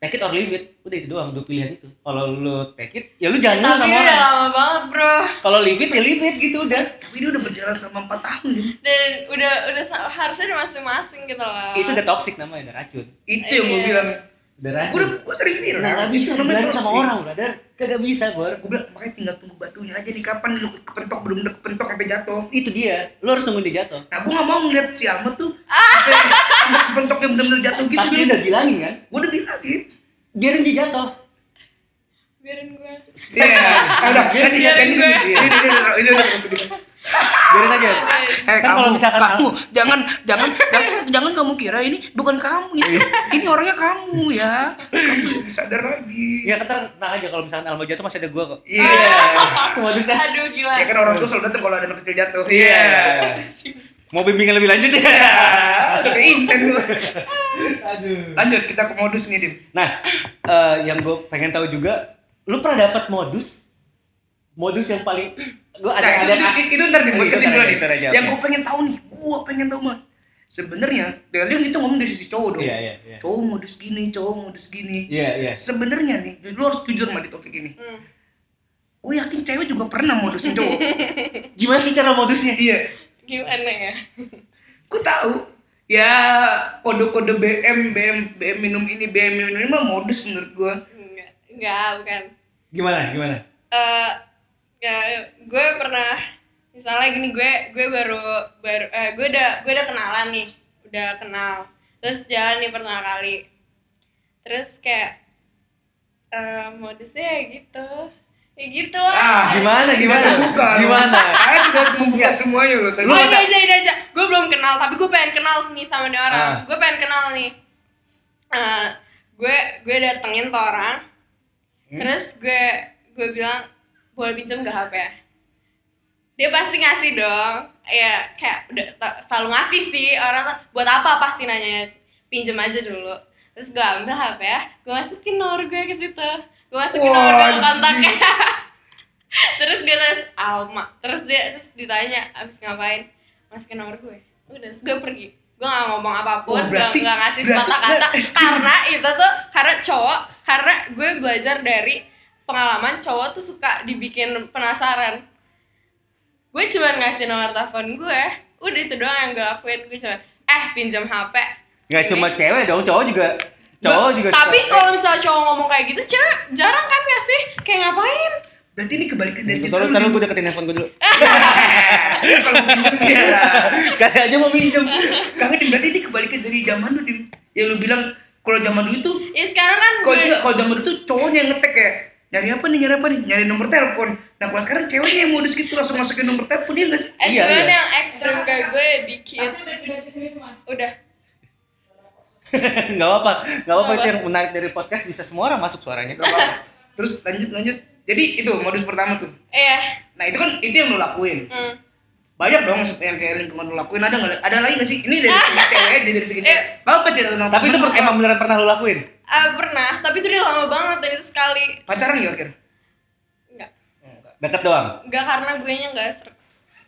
take it or leave it udah itu doang dua pilihan itu kalau lu take it ya lu jangan dulu tapi sama udah orang lama banget bro kalau leave it ya leave it gitu udah Tapi dia udah berjalan sama 4 tahun. ya. dan udah udah sa- harusnya udah masing-masing gitu loh itu udah toxic namanya udah racun Itu yang gue Iya. bilang. udah Gue racun udah gue sering bilang. Nah, nggak bisa itu namanya dibilangin sama toxic. orang, brother. Kagak bisa, Bor. Gue bilang makanya tinggal tunggu batunya aja nih kapan lu kepentok belum udah kepentok sampai jatuh. Itu dia. Lu harus nungguin dia jatuh. Nah gue gak mau ngeliat si Ahmad tuh sampai sampai kepentok yang bener-bener jatuh gitu. Tapi lu udah bilangin kan? Gue udah bilangin. Biarin dia jatuh. biarin gue Iya. Ah, Udah. Biarin Ganti dia. ganti gue. ganti. Ini ini ini, ini udah masuk dulu. Biarin aja. Eh, Kan kalau misalkan kamu jangan jangan jangan, jangan kamu kira ini bukan kamu ini, ini orangnya kamu ya kamu lebih sadar lagi Ya ketar tenang aja kalau misalkan Alma jatuh masih ada gua kok. iya Modusnya. aduh gila ya kan orang tua selalu datang kalau ada anak kecil jatuh Iya. Mau bimbingan lebih lanjut ya? udah kayak inten lu. Aduh. lanjut kita ke modus nih dim Iya. Nah, eh, yang gue pengen tahu juga, lu pernah dapat modus? Modus yang paling gue ada nah, ada itu, itu, itu ntar Oh, dibuat itu ntar kesimpulan nih aja, ntar aja, yang oke. gue pengen tahu nih gue pengen tahu mah sebenarnya dia itu ngomong dari sisi cowok dong Iya, iya, iya. cowok modus gini cowok modus gini Iya, iya. sebenarnya nih lu harus jujur mah di topik ini Hmm. gue yakin cewek juga pernah modusin cowok Gimana sih cara modusnya? iya gimana ya Ku tahu. Ya kode-kode BM, BM, BM minum ini, BM minum ini mah modus menurut gua. enggak enggak bukan Gimana? Gimana? eh ya, gue pernah misalnya gini gue gue baru baru eh, gue udah gue udah kenalan nih udah kenal terus jalan nih pertama kali terus kayak eh modusnya ya gitu ya gitu Ah, lah Gimana? Gimana? Bukan. Gimana? Iya. Saya sudah membuka semuanya loh tadi. Lu Lu masa- aja, aja, aja. Gue iya, belum kenal, tapi gue pengen kenal nih sama nih Ah. orang. Gue pengen kenal nih. Eh, gue gue datengin tuh orang. Hmm. Terus gue gue bilang boleh pinjam gak HP? ya?" Dia pasti ngasih dong. Ya kayak udah ta- selalu ngasih sih orang tuh, buat apa pasti nanya pinjam aja dulu. Terus gue ambil HP ya, gue masukin nomor gue ke situ. Gue masukin nomor gue ke Wajib. kontaknya. terus gue tulis Alma. Terus dia terus ditanya abis ngapain? Masukin nomor gue. Udah, terus gue pergi. Gue gak ngomong apapun, Oh, gue berarti- gak ngasih berarti- kata-kata karena itu tuh karena cowok karena gue belajar dari pengalaman cowok tuh suka dibikin penasaran gue cuman ngasih nomor telepon gue udah itu doang yang gue lakuin gue cuma eh pinjam hp Nggak Ini. cuma cewek dong, cowok juga cowok juga tapi suka- kalau misalnya cowok ngomong kayak gitu cewek jarang kan ngasih kayak ngapain Berarti ini kebalikan dari Tunggu, cerita Taruh, lu. taruh gue deketin handphone gue dulu Eh. Dim. Kalau pinjem ya. Iya. Kali aja mau minjem Kakak Dim, Iya, berarti ini kebalikan dari zaman lu Dim. Ya lu bilang kalau zaman dulu tuh ya sekarang kan kalau gue enggak kalau zaman dulu tuh cowoknya yang ngetek ya. Nyari apa nih, nyari apa nih? Nyari nomor telepon. Nah, kalau sekarang ceweknya yang modus gitu langsung masukin nomor telepon ya enggak sih? eh Iya, cuman iya. yang ekstrim kayak gue dikit udah Gak apa-apa, gak apa-apa Nggak itu yang menarik dari podcast bisa semua orang masuk suaranya Nggak apa-apa. Terus lanjut lanjut. Jadi itu modus pertama tuh. iya Nah itu kan itu yang lo lakuin. hmm. Banyak dong maksudnya yang kayak lingkungan lo lakuin ada nggak? Ada lagi nggak sih? Ini dari segi cewek, aja, dari segi Eh. cewek. Gak apa cerita tentang Tapi itu per- emang beneran pernah lo lakuin? Ah, pernah tapi itu udah lama banget dan itu sekali pacaran ya akhir. enggak Deket doang? enggak karena gue nya enggak ser-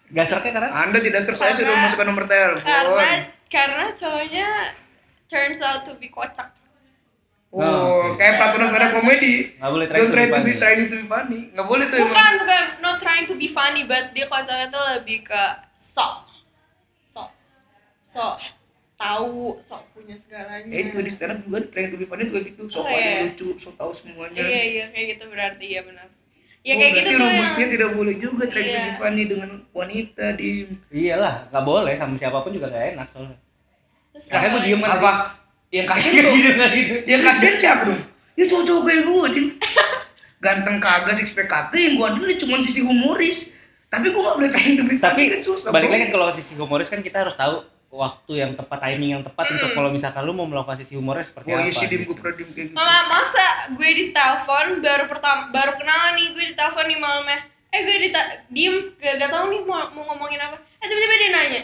Gasarnya karena? Anda tidak ser saya sudah Karena- memasukkan nomor telepon. karena karena cowoknya turns out to be kocak Oh, Oh, oke. kayak peraturan stand up komedi. Nggak boleh try Don't to ya. try be to be funny. trying to be funny. Nggak boleh tuh. bukan bukan not trying to be funny but dia konsepnya tuh lebih ke sok sok sok tahu sok punya segalanya Ya itu di stand up juga trying to be funny juga gitu. Sok Oh, ada iya. yang lucu, sok tahu semuanya. iya iya kayak gitu berarti ya benar ya Oh, kayak gitu berarti tuh rumusnya yang tidak boleh juga trying to Iya. be funny dengan wanita di Iyalah, nggak boleh sama siapapun juga nggak enak soalnya. Terus Makanya gue sama- diem aja. Iya. apa? Yang kasihan tuh. Gitu, nggak gitu. yang kasihan siapa dong? Ya cowok-cowok kayak gue, Din. Ganteng kagak six pack kagak yang gue ada cuma sisi humoris. Tapi gue gak boleh trying to be funny Tapi kan susah. balik Bro. lagi kan kalau sisi humoris kan kita harus tahu waktu yang tepat, timing yang tepat untuk kalau misalkan lu mau melakukan sisi humoris seperti Wah, apa. iya sih dim gitu. gue pernah dim kayak gitu. Mama, masa gue ditelepon baru pertama baru kenalan nih gue ditelepon nih malamnya. Eh gue di diem gak, gak tau nih mau, mau ngomongin apa. Eh tiba-tiba dia nanya,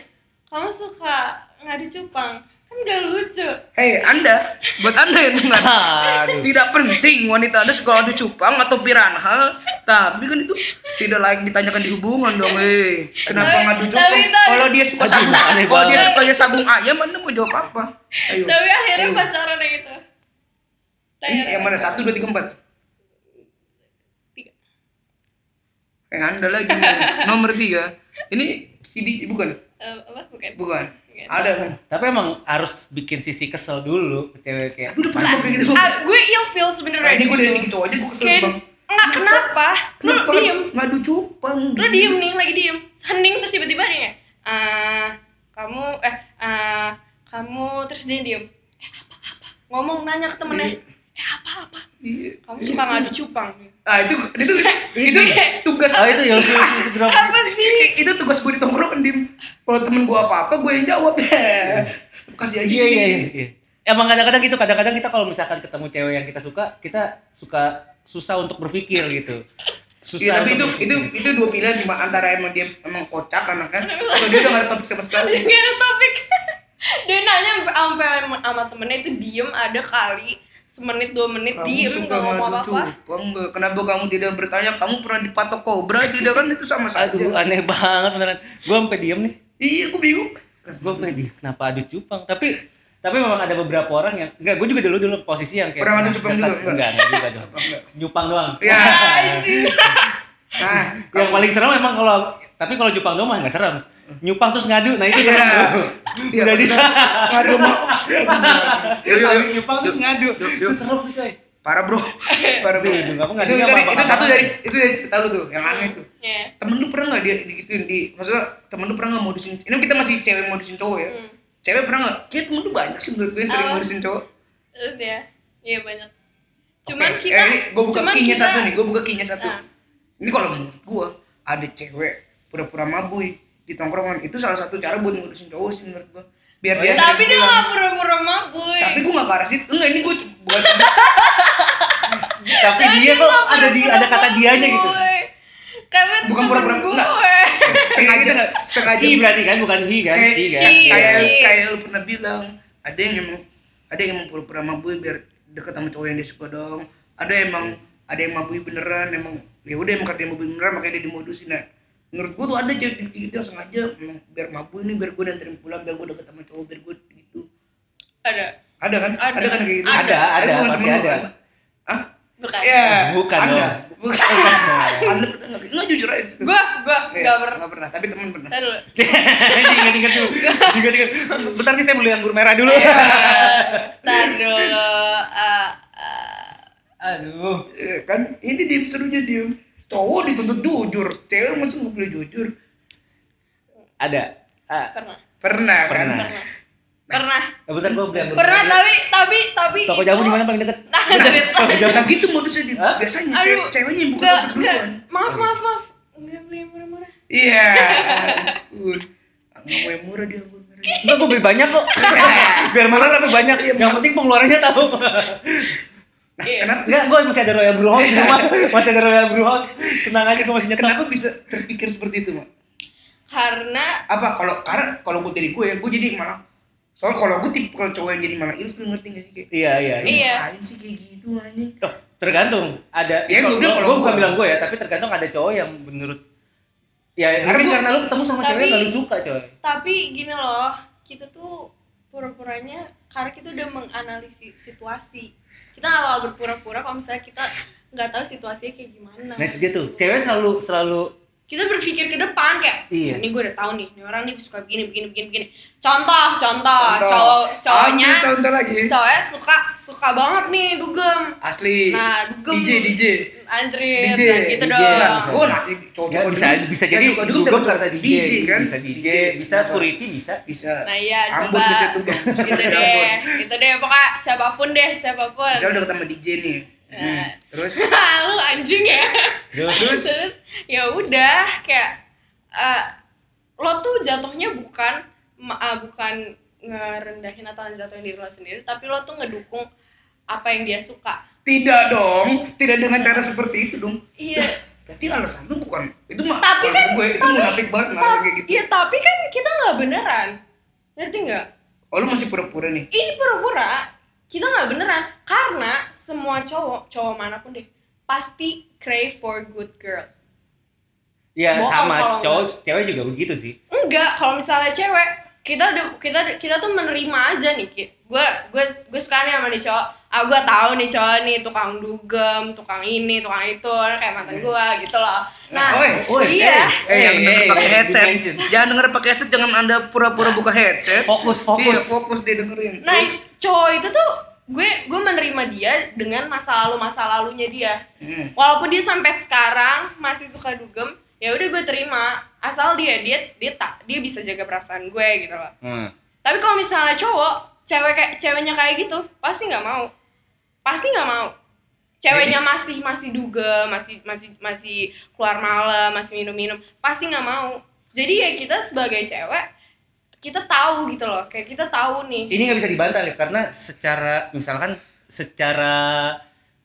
kamu suka ngadu cupang? Kan gak lucu. Hei, Anda, buat Anda yang dengar. Aduh. Tidak penting wanita Anda suka adu cupang atau piranha, tapi kan itu tidak layak ditanyakan di hubungan dong, eh. Tapi- Kenapa ngadu cupang? tapi- tapi- Kalau dia suka Aduh, sabung, aneh kalau dia banget. sukanya sabung ayam, Anda mau jawab apa? Ayo. Tapi akhirnya pacaran yang itu. Ini yang mana? Satu, dua, tiga, empat. Tiga. Eh, Anda lagi nih. nomor tiga. Ini CD bukan? Eh, apa? Bukan. Bukan. Bukan. Ada kan? Tapi emang harus bikin sisi kesel dulu ke cewek kayak Tapi udah pernah kayak gitu. Ah, gue ill feel Nah, sebenernya. ini gue dari gitu. segi cowok aja gue kesel Kayak, bang. enggak, kenapa? Lu Kenapa diem. harus ngadu cupang? lu diem nih lagi diem hening terus tiba-tiba dia kayak, "Ah, kamu eh ah, kamu terus dia diem eh apa apa ngomong nanya ke temennya eh apa apa Iya. kamu suka ngadu cupang Ah itu itu itu tugas Oh itu ya lu drop. apa sih itu tugas gue di tongkrongan dim. Kalau temen gue apa apa gue yang jawab. Kasih aja. Iya iya iya, iya. Emang kadang-kadang gitu, kadang-kadang kita kalau misalkan ketemu cewek yang kita suka, kita suka susah untuk berpikir gitu. Susah. Iya, tapi itu untuk itu berpikir. itu dua pilihan cuma antara emang dia emang kocak anaknya atau dia udah gak ada topik sama sekali. gak ada topik dia nanya sampai sama temennya itu diem ada kali semenit dua menit diem gak ngomong apa apa cupang nggak? Kenapa kamu tidak bertanya? Kamu pernah dipatok kobra tidak kan itu sama saja. aduh aneh banget beneran. Gua sampai diem nih. Iya, aku bingung. Gua sampai diem. Kenapa adu cupang? Tapi tapi memang ada beberapa orang yang enggak, gua juga dulu dulu posisi yang kayak nah, Pernah adu cupang dekat- juga, enggak? enggak, enggak juga dong. Enggak. Nyupang doang. Ya. Nah, yang paling serem emang kalau tapi kalau Jepang doang mah nggak serem. Nyupang terus ngadu, nah itu Iya. serem. Iya, Iya. Jadi maksudnya, ngadu mau. Yuk, yuk, habis yuk. nyupang terus ngadu. Yuk, yuk. Itu serem tuh, coy. Parah, Bro. Parah, Bro. Aduh, aduh, gitu. nggak Ah. apa, nggak Iya. Itu ada, itu- nggak apa, itu nggak satu apa. dari itu dari cerita lu tuh, yang aneh tuh. ya Temen lu pernah nggak dia digituin di maksudnya temen lu pernah nggak modusin ini kita masih cewek modusin cowok ya Hmm. Ah, cewek pernah nggak kayak temen lu banyak sih menurut gue yang sering Apa? modusin cowok terus ya iya banyak cuman Oke, kita eh, ini gue buka cuman key-nya kita- satu nih gue buka key-nya satu Ah. ini kalau menurut gue ada cewek pura-pura mabui di tongkrongan itu salah satu cara buat ngurusin cowok sih menurut gue biar dia Oh, iya. tapi dia Iya, bilang, gak pura-pura mabuk tapi gue gak ke arah situ enggak ini gue buat Tapi dia kok ada di ada kata dianya gitu. Karena Bukan bukan pura-pura, pura-pura enggak. gue. Sengaja sengaja sengaja Iya, si berarti kan bukan hi kan, kayak si kan. kayak Iya, kayak, si. kayak lu pernah bilang ada yang emang ada yang emang pura-pura mabui biar deket sama cowok yang dia suka dong ada yang emang ada yang mabui beneran emang ya udah emang karena dia mabui beneran makanya dia dimodusin nah menurut gua tuh ada cewek gitu, gitu yang sengaja emang biar mabui nih biar gua nantirin pulang biar gua deket sama cowok biar gua gitu Ada. ada kan ada, Ada. kan kayak gitu Ada, ada, bukan pasti temen lu, ada. kan? Hah? Bukan. Iya. Bukan Anda. dong. Bukan. Anda pernah nggak? Nggak jujur aja. sih. Gue, gue Iya, gak pernah. nggak pernah. Tapi teman pernah. Ntar dulu. Iya. Ingat ingat tuh. Ingat ingat. Bentar nih saya beli anggur merah dulu. Eh, Iya. Ntar dulu. eh, eh, Aduh. Eh, kan ini dia serunya dia cowok dituntut jujur cewek masa nggak boleh jujur Ada. Ah, Pernah. pernah, Pernah. kan Pernah. Pernah. bentar gua beli anggur Pernah merah. tapi, tapi, tapi. dulu. Toko itu- jamu di mana paling deket? Nah, cerita. Toko jamu. nah gitu modusnya dia Hah? biasanya Aduh, cewek ceweknya yang buka Nggak, topik nggak. duluan Maaf, maaf, maaf. Nggak beli yang murah-murah. iya ampun nggak mau yang murah dia anggur merah Enggak gua beli banyak kok. Biar murah tapi banyak. Iya, Yang penting pengeluarannya tahu. nah Iya. kenapa Enggak, gue masih ada Royal Brew House di rumah. Masih ada Royal Brew House. Tenang aja, gue masih nyetok. kenapa bisa terpikir seperti itu mak Karena apa kalau karena kalau gue dari gue ya gue jadi malah soal kalau gue tipe kalau cowok yang jadi malah ilfil ngerti gak sih kayak Iya, iya. iya. Iya. ngapain sih kayak gitu anjing Loh, tergantung. Ada. Ya, gua gue bilang kalau gue bukan gua. bilang gue ya, tapi tergantung ada cowok yang menurut. Ya, Karena karena gua- karena lu ketemu sama cewek Tapi- yang gak lu suka, coy. tapi gini loh kita tuh pura-puranya karena kita udah menganalisis situasi kita awal berpura-pura kalau misalnya kita nggak tahu situasinya kayak gimana Nah itu dia gitu. tuh, cewek selalu selalu kita berpikir ke depan kayak Iya. ini gue udah tahu nih ini orang nih suka begini begini begini begini contoh contoh, Contoh. Ah, cowok cowoknya Ambil contoh lagi cowoknya suka suka banget nih dugem asli nah dugem DJ DJ anjir DJ, dan gitu DJ, dong Bang. gue nak cowok Nah, Nggak, bisa bisa jadi dugem karena DJ, iya, kan? bisa DJ, bisa security bisa. bisa nah iya Ambon coba bisa tuh gitu deh gitu deh pokoknya siapapun deh siapapun Misalnya udah ketemu DJ nih Nah. Hmm, terus lu anjing ya Terus terus ya udah kayak eh, lo tuh jatuhnya bukan ma- ah, bukan ngerendahin atau jatuhin diri lo sendiri tapi lo tuh ngedukung apa yang dia suka tidak dong tidak dengan cara seperti itu dong iya berarti alasan lu bukan itu mah kalau Tapi kan- gue itu tapi- munafik banget malah kayak gitu iya tapi kan kita nggak beneran ngerti nggak oh lu masih pura-pura nih ini pura-pura kita nggak beneran karena semua cowok cowok manapun deh pasti crave for good girls ya Bohong kalau sama cowok nggak. cewek juga begitu sih. enggak kalau misalnya cewek kita udah- kita kita tuh menerima aja nih Ki. gue gue gue suka nih sama nih cowok ah gue tahu nih cowok nih tukang dugem tukang ini tukang itu kayak mantan gue gitu loh nah Oi, oi, iya eh yang Eh, denger eh, pakai eh, headset dimension. jangan denger pakai headset jangan anda pura-pura buka Nah. headset Fokus Iya, fokus. fokus dia dengerin nah Terus, cowok itu tuh gue gue menerima dia dengan masa lalu masa lalunya dia hmm, walaupun dia sampai sekarang masih suka dugem ya udah gue terima asal dia dia dia tak dia bisa jaga perasaan gue gitu loh Hmm. Tapi kalau misalnya cowok, cewek kayak ceweknya kayak gitu, pasti nggak mau. Pasti nggak mau. Ceweknya masih masih duga, masih masih masih keluar malam, masih minum-minum, pasti nggak mau. Jadi ya kita sebagai cewek kita tahu gitu loh, kayak kita tahu nih. Ini nggak bisa dibantah nih karena secara misalkan secara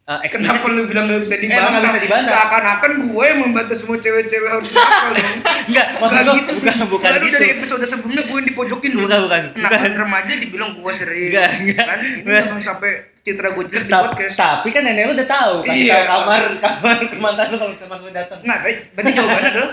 eh, eksplisit kenapa lu bilang gak bisa Emang dibantah nggak bisa dibantah. seakan-akan gue yang membantu semua cewek-cewek harus nakal dong enggak maksud Nggak gua gitu. bukan bukan Nggak, lu gitu. dari episode sebelumnya gue yang dipojokin lu. Bukan, bukan, Kenapa bukan. remaja dibilang gue serius Nggak, nggak, kan ini nggak. memang sampai citra gue jelek di Ta- podcast tapi kan nenek lu udah tahu kasih Iya. tahu kamar kamar kemantan lu kalau misalkan lu datang. Nah, tapi berarti jawabannya adalah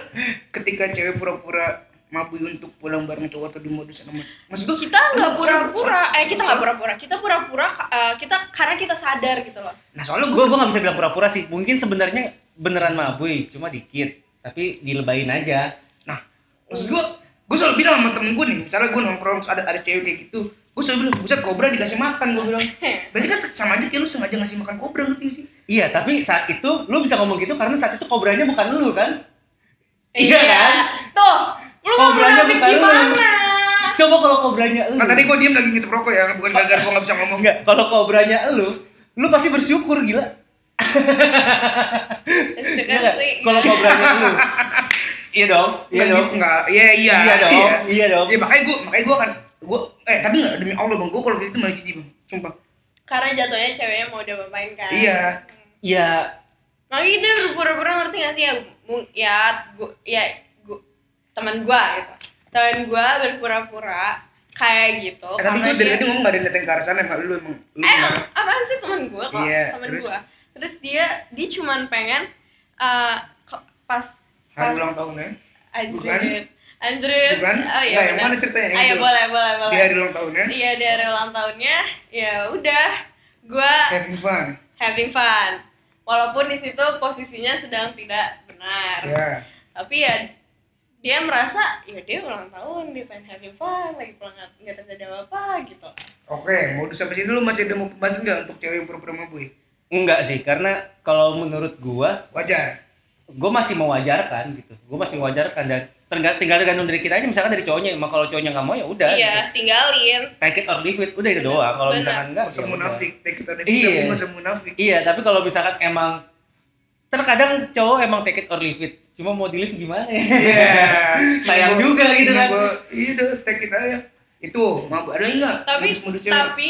ketika cewek pura-pura mabui untuk pulang bareng cowok atau di modus sama maksud gua Kita nggak Sorry, sorry, pura-pura, eh kita sorry, nggak sorry. pura-pura, kita pura-pura, eh, kita karena kita sadar gitu loh. nah soalnya gue gua gue nggak bisa bilang pura-pura sih mungkin sebenarnya beneran mabui cuma dikit tapi dilebayin aja nah maksud gua gua selalu bilang sama temen gua nih misalnya gua nongkrong terus ada ada cewek kayak gitu gua selalu bilang buset kobra dikasih makan gua bilang Iya. berarti kan sama aja kayak lu sengaja ngasih makan kobra ngerti nggak sih iya tapi saat itu lu bisa ngomong gitu karena saat itu kobranya bukan lu kan Iya kan? Tuh, lu mau Kobranya munafik bukan lu. gimana? coba kalau kobranya lu nah tadi gua diem lagi ngisep rokok ya bukan gara-gara gua nggak bisa ngomong enggak kalau kobranya lu lu pasti bersyukur gila kan Iya nggak? kalau kobranya lu iya dong iya Nggak dong gitu, nggak iya iya iya dong iya dong Iya, makanya gua makanya gua akan gua eh tapi nggak demi allah bang gua kalau kayak gitu malah jijik bang sumpah karena jatuhnya ceweknya mau udah main kan iya iya makanya kita berpura-pura ngerti gak sih ya mu- ya gua, ya gua, teman gua gitu teman gua berpura-pura kayak gitu Eh, tapi gue karena dari dia- tadi ngomong gak ada niatan ke arah sana emang lu emang lu Eh, emang- apaan sih teman gua kok kan? Iya, teman terus? gua terus dia dia cuman pengen eh, ke- pas hari pas ulang ya? tahunnya anjrit anjrit Bukan? oh iya Nah, yang benar. mana ceritanya? Yang Ah, iya, itu. boleh boleh di boleh hari ulang ya? tahunnya iya dari ulang tahunnya ya udah gua having fun having fun walaupun di situ posisinya sedang tidak benar ya tapi ya dia merasa ya dia ulang tahun dia pengen having fun lagi pulang nggak- nggak terjadi apa apa gitu oke mau modus sampai sini lu masih ada mau pembahasan nggak untuk cewek yang pura-pura mabui enggak sih karena kalau menurut gua wajar gua masih mewajarkan gitu gua masih mewajarkan dan terga- tinggal tergantung dari kita aja misalkan dari cowoknya emang kalau cowoknya nggak mau ya udah gitu. iya tinggalin take it or leave it udah itu doang kalau Benar. misalkan enggak masa ya udah. munafik take it or leave Iya. it, masa munafik iya tapi kalau misalkan emang terkadang cowok emang take it or leave it cuma mau di leave gimana ya iya Sayang Ini gua- juga gitu ini kan. gua- iya udah take it aja itu mabuk ada nggak tapi modus-modus cewek tapi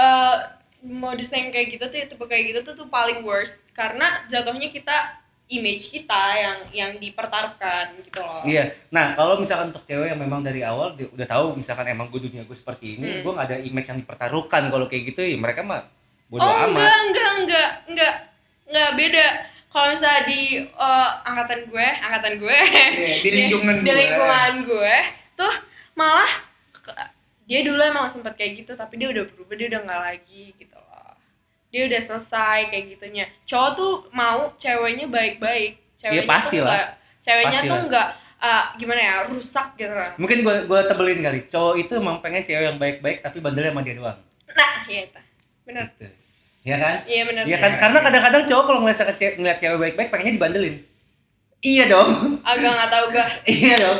eh, modus yang kayak gitu tuh tipe kayak gitu tuh, tuh paling worst karena jatuhnya kita image kita yang yang dipertaruhkan gitu loh iya nah kalau misalkan untuk cewek yang memang dari awal dia udah tahu misalkan emang gue dunia gue seperti ini Hmm. gue nggak ada image yang dipertaruhkan kalau kayak gitu ya mereka mah bodo oh amat enggak enggak enggak enggak enggak beda kalau misalnya di eh, angkatan gue angkatan gue Iya, di lingkungan di gue. lingkungan gue tuh malah ke- dia dulu emang sempet kayak gitu tapi dia udah berubah dia udah nggak lagi gitu loh dia udah selesai kayak gitunya cowok tuh mau ceweknya baik-baik ceweknya pasti lah. tuh nggak- ceweknya Pasti tuh lah. nggak eh, gimana ya rusak gitu lah Mungkin gua gua tebelin kali. Cowok itu emang pengen cewek yang baik-baik tapi bandelnya sama dia doang. nah iya itu benar Gitu. Ya kan? iya benar Iya kan? Karena kadang-kadang cowok kalau ngeliat cewek, ngeliat cewek baik-baik pengennya dibandelin. Iya dong. agak nggak tahu gua iya dong.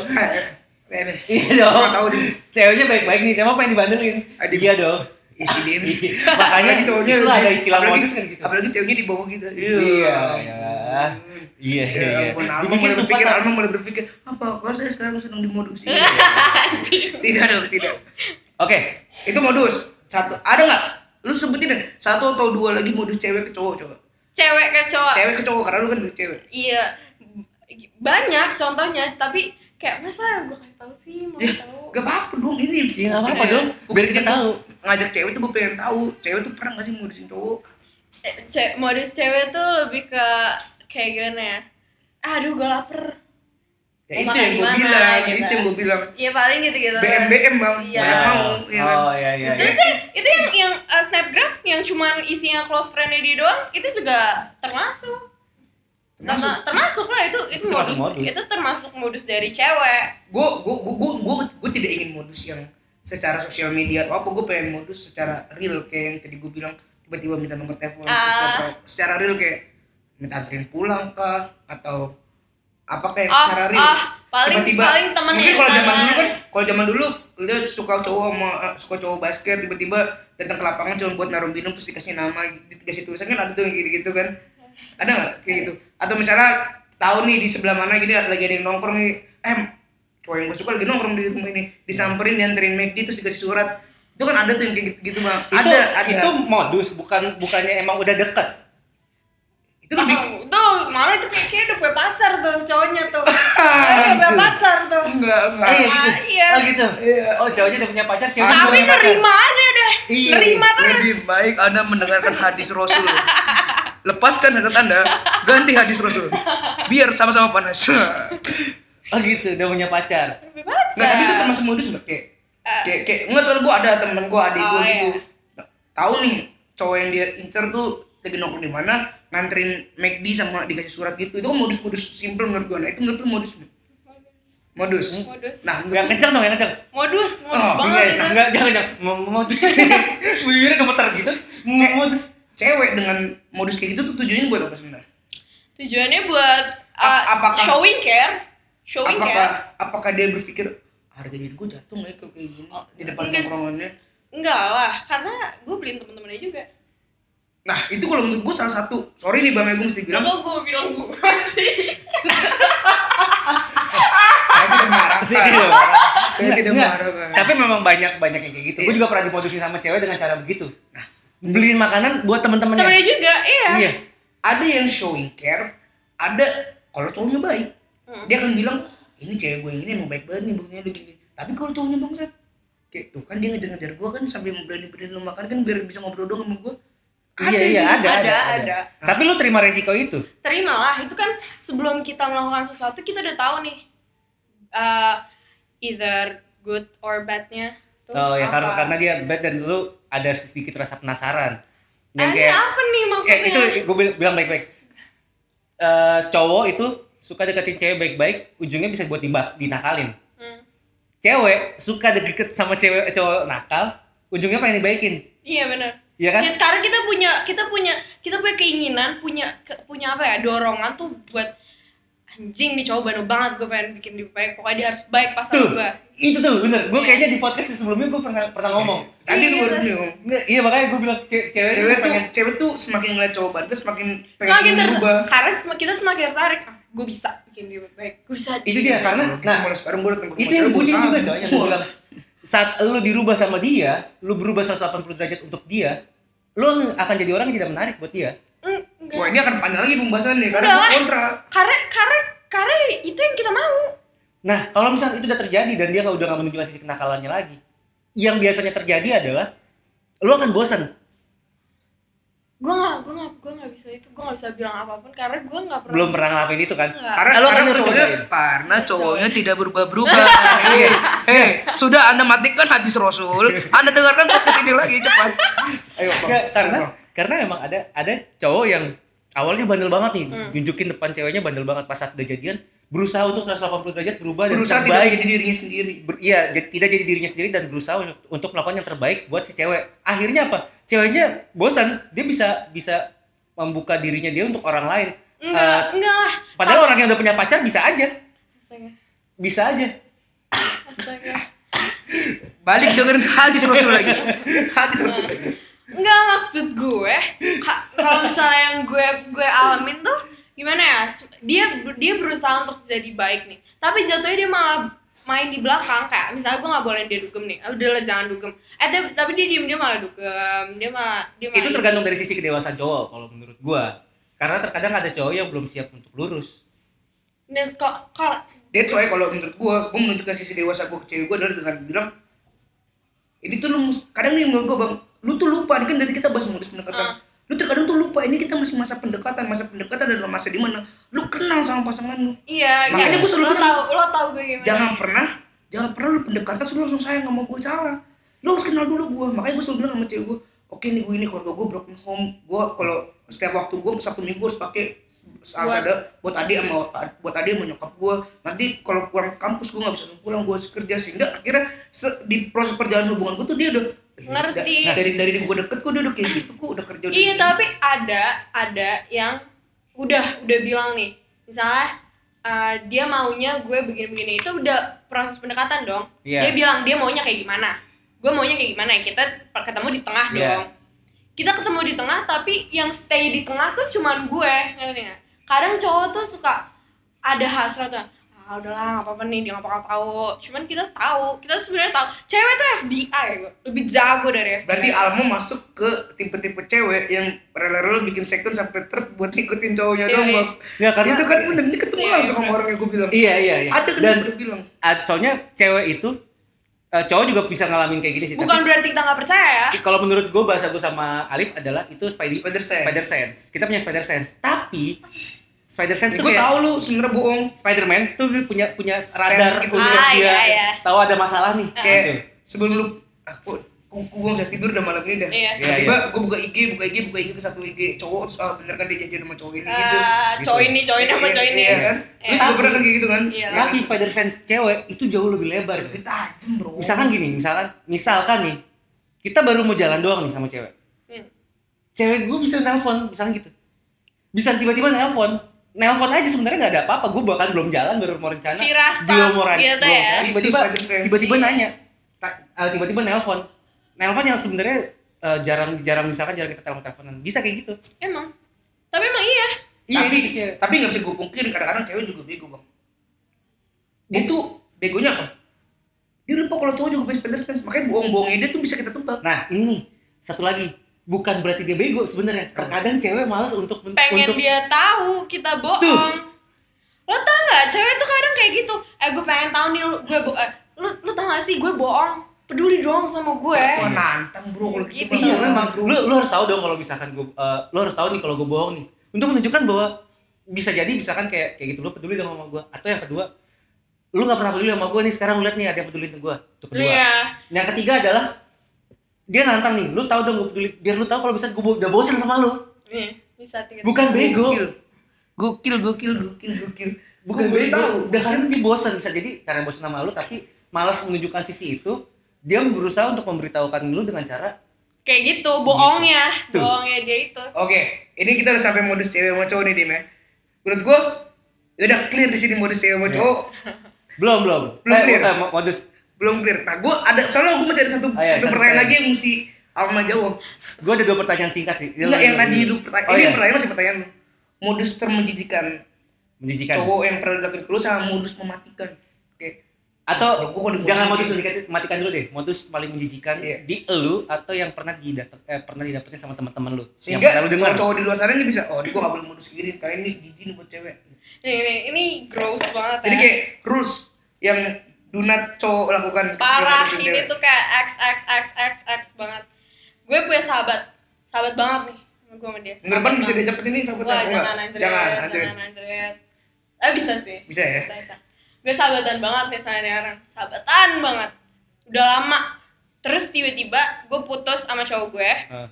Bebe. Iya Aku dong. nggak tahu deh. Ceweknya baik-baik nih, cuma pengen dibandelin. Adik. Iya dong. Isi dia nih. Iya, Makanya Apalagi itu itulah ada istilah apalagi- modus kan gitu. Apalagi ceweknya di bawah gitu. Iya, ya. Iya, iya. Ya iya. ampun, Alma Dibikin mulai sumpah berpikir, sama- Alma mulai berpikir, apa kok saya sekarang sedang dimodusi? tidak dong, tidak. Oke, Itu modus. Satu, ada nggak? Lu sebutin deh, satu atau dua lagi modus cewek ke cowok coba. cewek ke cowok Cewek ke cowok, karena lu kan dari cewek. iya banyak contohnya tapi kayak masa gua kasih tahu sih mau Ya, tahu gak apa-apa dong ini. Iya, nggak apa-apa dong. Bukan Biar kita gitu. tahu. Ngajak cewek tuh gue pengen tahu, cewek tuh pernah nggak sih modusin cowok? Eh, ce- modus cewek tuh lebih ke kayak gimana ya aduh gue lapar Ya Mau itu makan yang di gue mana, bilang, gitu. itu yang gue bilang. ya paling gitu gitu BM-BM bang, Iya. banyak mau. ya kan? Oh, iya iya. terus sih itu yang yang eh, snapgram yang cuman isinya close friendnya dia doang itu juga termasuk Termasuk. Terma- termasuk lah itu itu, Itu termasuk modus, modus. itu termasuk modus dari cewek gue gue gue gue gue tidak ingin modus yang secara sosial media atau apa gue pengen modus secara real kayak yang tadi gue bilang tiba-tiba minta nomor telepon Ah. terus atau secara real kayak minta anterin pulang kah atau apa kayak oh, Eh, secara real oh, paling tiba-tiba paling temen mungkin yang kalau zaman tangan. dulu kan kalau zaman dulu dia suka cowok sama eh, suka cowok basket tiba-tiba datang ke lapangan cuma buat naruh minum terus dikasih nama dikasih tulisan kan ada tuh yang gitu-gitu kan ada nggak kayak gitu atau misalnya tahu nih di sebelah mana gini lagi ada yang nongkrong nih eh cowok yang gue suka lagi nongkrong di rumah ini disamperin dianterin McD terus dikasih surat itu kan ada tuh yang kayak gitu, gitu bang itu, ada ada itu modus bukan bukannya emang udah deket itu lebih Oh, tuh malah itu kayak kayak udah punya pacar tuh cowoknya tuh Kayaknya udah punya gitu. pacar tuh enggak enggak Eh, Ah, gitu. iya. Oh gitu. Oh, cowoknya udah punya pacar, ceweknya tapi udah punya pacar. nerima aja deh Iya. nerima terus Lebih baik Anda mendengarkan hadis Rasul. Lepaskan hasrat Anda, ganti hadis Rasul. Biar sama-sama panas. Nggak, Oh gitu, udah punya pacar. lebih pacar tapi itu termasuk modus nggak? Kayak, kayak, kayak, nggak soal gue ada temen gue, adik gue Oh, gitu. Tahu nih, cowok yang dia incer tuh lagi nongkrong di mana, nganterin McD sama dikasih surat gitu. Itu kan modus-modus simple menurut gue. Nah, itu menurut lu modus nggak? Modus. modus Yang Nah, menurut lu- kenceng dong, yang kenceng. modus modus Oh, banget kan? Iya, itu enggak jangan jangan Mau- mau modus. Bibirnya gemeter gitu. Mau modus. cewek dengan modus kayak gitu tuh tujuannya buat apa sebenarnya? tujuannya buat A- uh, apakah- showing care showing ya. apakah care apakah dia berpikir harga diri gue jatuh nggak ya kalau kayak gini di depan Oh, enggak sih. nongkrongannya enggak lah karena gue beliin temen-temennya juga nah itu kalau menurut gue salah satu sorry nih bang Agung mesti bilang Kenapa gue bilang gue sih saya tidak marah Pasti gitu. Pak. saya Enggak, tidak enggak. marah Pak. Tapi memang banyak banyak yang kayak gitu. Iya. Gue juga pernah dimodusin sama cewek dengan cara begitu. Beliin makanan buat temen-temennya. Nah, temennya juga iya Iya. ada yang showing care ada kalau cowoknya baik Hmm. dia akan bilang ini cewek gue yang ini emang baik banget nih buktinya lu gini tapi kalau cowoknya bangsat kayak tuh kan dia ngejar-ngejar gue kan sampai berani-berani lu makan kan biar bisa ngobrol doang sama gue Iya, iya, ada, ada, ada, ada. Tapi lu terima resiko itu. terimalah itu kan sebelum kita melakukan sesuatu kita udah tahu nih uh, either good or badnya tuh Oh ya apa. karena karena dia bad dan lu ada sedikit rasa penasaran. Ada Yang kayak Eh, apa nih maksudnya eh, itu gue bilang baik-baik. Eh, cowok itu suka deketin cewek baik-baik, ujungnya bisa buat dibak, dinakalin. Hmm. Cewek suka deket sama cewek cowok nakal, ujungnya pengen dibaikin. iya benar Iya kan? Ya, karena kita punya kita punya kita punya keinginan punya ke- punya apa ya dorongan tuh buat anjing nih cowok bandel banget gue pengen bikin dia baik pokoknya dia harus baik pas sama Tuh. gue Itu tuh bener. Gue Iya. kayaknya di podcast yang sebelumnya gue pernah pernah ngomong. tadi Iya, lu harus kan. ngomong Nggak, iya makanya gue bilang ce- cewek, cewek tuh pengen cewek tuh semakin ngeliat cowok bandel semakin pengen semakin ter berubah karena sem- kita semakin tertarik ah, gue bisa bikin dia baik gue bisa itu dia karena nah nah mulai sekarang gue datang ke itu yang bunyi juga coy yang gua bilang saat lu dirubah sama dia lu berubah 180 derajat untuk dia lu akan jadi orang yang tidak menarik buat dia Mm, enggak. wah ini akan panjang lagi pembahasan nih karena Udah gue lah. kontra karena karena karena itu yang kita mau nah kalau misalnya itu udah terjadi dan dia udah gak menunjukkan sisi kenakalannya lagi yang biasanya terjadi adalah lu akan bosan gue nggak gue nggak gue nggak bisa itu gue nggak bisa bilang apapun karena gue nggak pernah belum pernah ngelakuin itu kan Nggak. karena, Ah, lu karena akan cowoknya cobain. karena cowoknya tidak berubah-berubah Iya. eh sudah anda matikan hadis rasul anda dengarkan podcast ini lagi cepat ayo Nggak, karena karena emang ada ada cowok yang awalnya bandel banget nih Hmm. nunjukin depan ceweknya bandel banget pas saat udah jadian berusaha untuk 180 derajat berubah dan berusaha tidak terbaik jadi dirinya sendiri Ber- iya jadi tidak jadi dirinya sendiri dan berusaha untuk, untuk melakukan yang terbaik buat si cewek akhirnya apa ceweknya bosan dia bisa bisa membuka dirinya dia untuk orang lain Eh, enggak enggak lah padahal orang yang udah punya pacar bisa aja astaga bisa aja astaga balik dengerin hadis rasul lagi hadis rasul lagi Enggak maksud gue ka- kalau misalnya yang gue gue alamin tuh gimana ya s- dia dia berusaha untuk jadi baik nih tapi jatuhnya dia malah main di belakang kayak misalnya gue nggak boleh dia dugem nih udah lah jangan dugem eh tapi, tapi dia diem dia malah dugem dia malah Iya. dia malah itu tergantung dari sisi kedewasaan cowok kalau menurut gua karena terkadang ada cowok yang belum siap untuk lurus dan kok kalau that's why kalau menurut gue gue menunjukkan sisi dewasa gue ke cewek gue adalah dengan bilang ini tuh lu mus- kadang nih menurut gue bang lu tuh lupa ini kan dari kita bahas modus pendekatan lu terkadang tuh lupa ini kita masih masa pendekatan masa pendekatan adalah masa dimana lu kenal sama pasangan lu iya Makanya kayak- gue selalu lo bilang, tau lo tau gue gimana jangan pernah jangan pernah lu pendekatan terus lu langsung sayang sama gue salah lu harus kenal dulu gue makanya gue selalu bilang sama cewek gue oke nih gue ini keluarga gue broken home gue kalau setiap waktu gue sabtu minggu harus pakai Buat- ada buat adik sama buat adik sama nyokap gue nanti kalau pulang kampus gue nggak bisa langsung pulang gue harus kerja sehingga akhirnya se- di proses perjalanan hubungan gue tuh dia udah eh, Ngerti. da- dari dari gue deket gue dia udah kayak gitu gue udah kerja udah Iya gini. tapi ada ada yang udah udah bilang nih misalnya eh, dia maunya gue begini-begini itu udah proses pendekatan dong. Iya. Dia bilang dia maunya kayak gimana, gue maunya kayak gimana Ya, kita per- ketemu di tengah Iya. dong. Kita ketemu di tengah tapi yang stay di tengah tuh cuman gue ngerti nggak? Kadang cowok tuh suka ada hasratnya ah udahlah nggak apa-apa nih dia nggak bakal tahu cuman kita tahu kita tuh sebenarnya tahu cewek tuh FBI gue lebih jago dari FBI Berarti Alma masuk ke tipe-tipe cewek yang rela-rela bikin second sampai third buat ngikutin cowoknya Iya, doang, iya. Bang. ya karena Itu kan bener, ini ketemu Iya, langsung iya, sama orang yang gue bilang. iya iya iya Ada kan dan yang gue bilang. ad- soalnya cewek itu eh, cowok juga bisa ngalamin kayak gini sih bukan berarti kita nggak percaya ya Ki- kalau menurut gue bahasa gue sama Alif adalah itu spider, Spider sense. spider sense. Kita punya spider sense. Tapi spider sense Ya, tuh gue kayak tahu lu sebenernya bohong. Spiderman tuh dia punya punya radar gitu. untuk Ah, dia iya, iya. tahu ada masalah Ah. nih. Kayak Gitu. sebelum lu ah, aku gue udah tidur udah malam ini dah. Iya. Iya, Tiba-tiba gue buka IG, buka IG, buka IG ke satu IG cowok terus ah bener kan dia jadian sama cowok ini gitu. Ah, gitu. cowok ini cowok ini sama Iya, cowok ini Iya kan? Iya. Lu juga pernah kan kayak gitu kan? Iya. Yang Tapi spider sense cewek itu jauh lebih lebar. Lebih tajam, Bro. Misalkan gini, misalkan misalkan nih kita baru mau jalan doang nih sama cewek. Hmm. Cewek gue bisa nelpon, misalnya gitu. Bisa tiba-tiba nelpon. Nelpon aja sebenarnya nggak ada apa-apa. Gue bahkan belum jalan, baru mau rencana. Firasat belum mau rencana. gitu belum ya. rencana. Tiba-tiba Itu spider sense. tiba-tiba Iya. nanya Ta- eh, tiba-tiba nelpon nelpon yang sebenarnya eh, jarang jarang misalkan jarang kita telepon teleponan bisa kayak gitu emang tapi emang iya tapi, ini kayak- tapi nggak bisa gue pungkirin kadang-kadang cewek juga bego bang dia tuh begonya apa dia lupa kalau cowok juga punya spider sense makanya bohong-bohongnya dia tuh bisa kita tebak nah ini nih satu lagi bukan berarti dia bego sebenarnya terkadang cewek malas untuk men- pengen untuk dia tahu kita bohong Tuh. lo tau gak cewek tuh kadang kayak gitu eh gue pengen tahu nih lu- gue bo- eh, lu lu tau gak sih gue bohong peduli dong sama gue wah Eh, nantang bro kalau gitu Gitu. iya Bang. memang lu lu harus tahu dong kalau misalkan gue lu harus tahu nih kalau gue bohong nih untuk menunjukkan bahwa bisa jadi misalkan kayak kayak gitu lu peduli dong sama gue atau yang kedua lu nggak pernah peduli sama gue nih sekarang lu lihat nih ada yang peduli sama gue itu kedua iya Yang ketiga adalah dia nantang nih, lu tahu dong gue peduli, biar lu tahu kalau bisa gue bo- udah bosen sama lu. Nih, bisa tiga Bukan bego, gokil gokil gokil gokil gokil bukan Gue bego. tahu. Udah kan dia bosen bisa jadi karena bosen sama lu tapi malas menunjukkan sisi itu, dia berusaha untuk memberitahukan lu dengan cara kayak gitu bohongnya Tuh. Gitu. bohongnya dia itu oke ini kita udah sampai modus cewek sama cowok nih dim ya menurut gue udah clear di sini modus cewek sama Iya. cowok belum belum. Belum eh, clear. eh, mo- modus. belum clear nah gue ada soalnya gue masih ada satu, Oh, iya, satu satu pertanyaan pertanyaan. lagi yang mesti Alma jawab Gue ada dua pertanyaan singkat sih. Enggak yang tadi lu pertanyaan Oh, ini iya. pertanyaan masih pertanyaan lu modus termenjijikan Menjijikan. cowok yang pernah dilakukan ke lu sama modus mematikan oke Atau Gua kalau jangan modus dibohongin- menjijikan, matikan dulu deh. Modus paling menjijikan Iya. di elu atau yang pernah didapat eh, pernah didapetin sama teman-teman lu. yang sehingga pernah lu dengar. cowok-cowok di luar sana ini bisa oh ini gua gak boleh modus gini karena ini jijik nih buat cewek nih, nih, ini gross banget ya jadi kayak rules yang dunat cowok lakukan ketika parah deketin ini cewek. tuh kayak x x x x x banget gue punya sahabat sahabat banget nih sama gue sama dia minggu depan Sahabat bisa banget. diajak ke sini sahabat Wah, aku nggak? jangan anjret, jangan jangan anjrit. anjret. Eh bisa sih. bisa ya Bisa, bisa. Gue sahabatan banget nih sama nih orang. Sahabatan banget. Udah lama. Terus tiba-tiba gue putus sama cowok gue. Eh,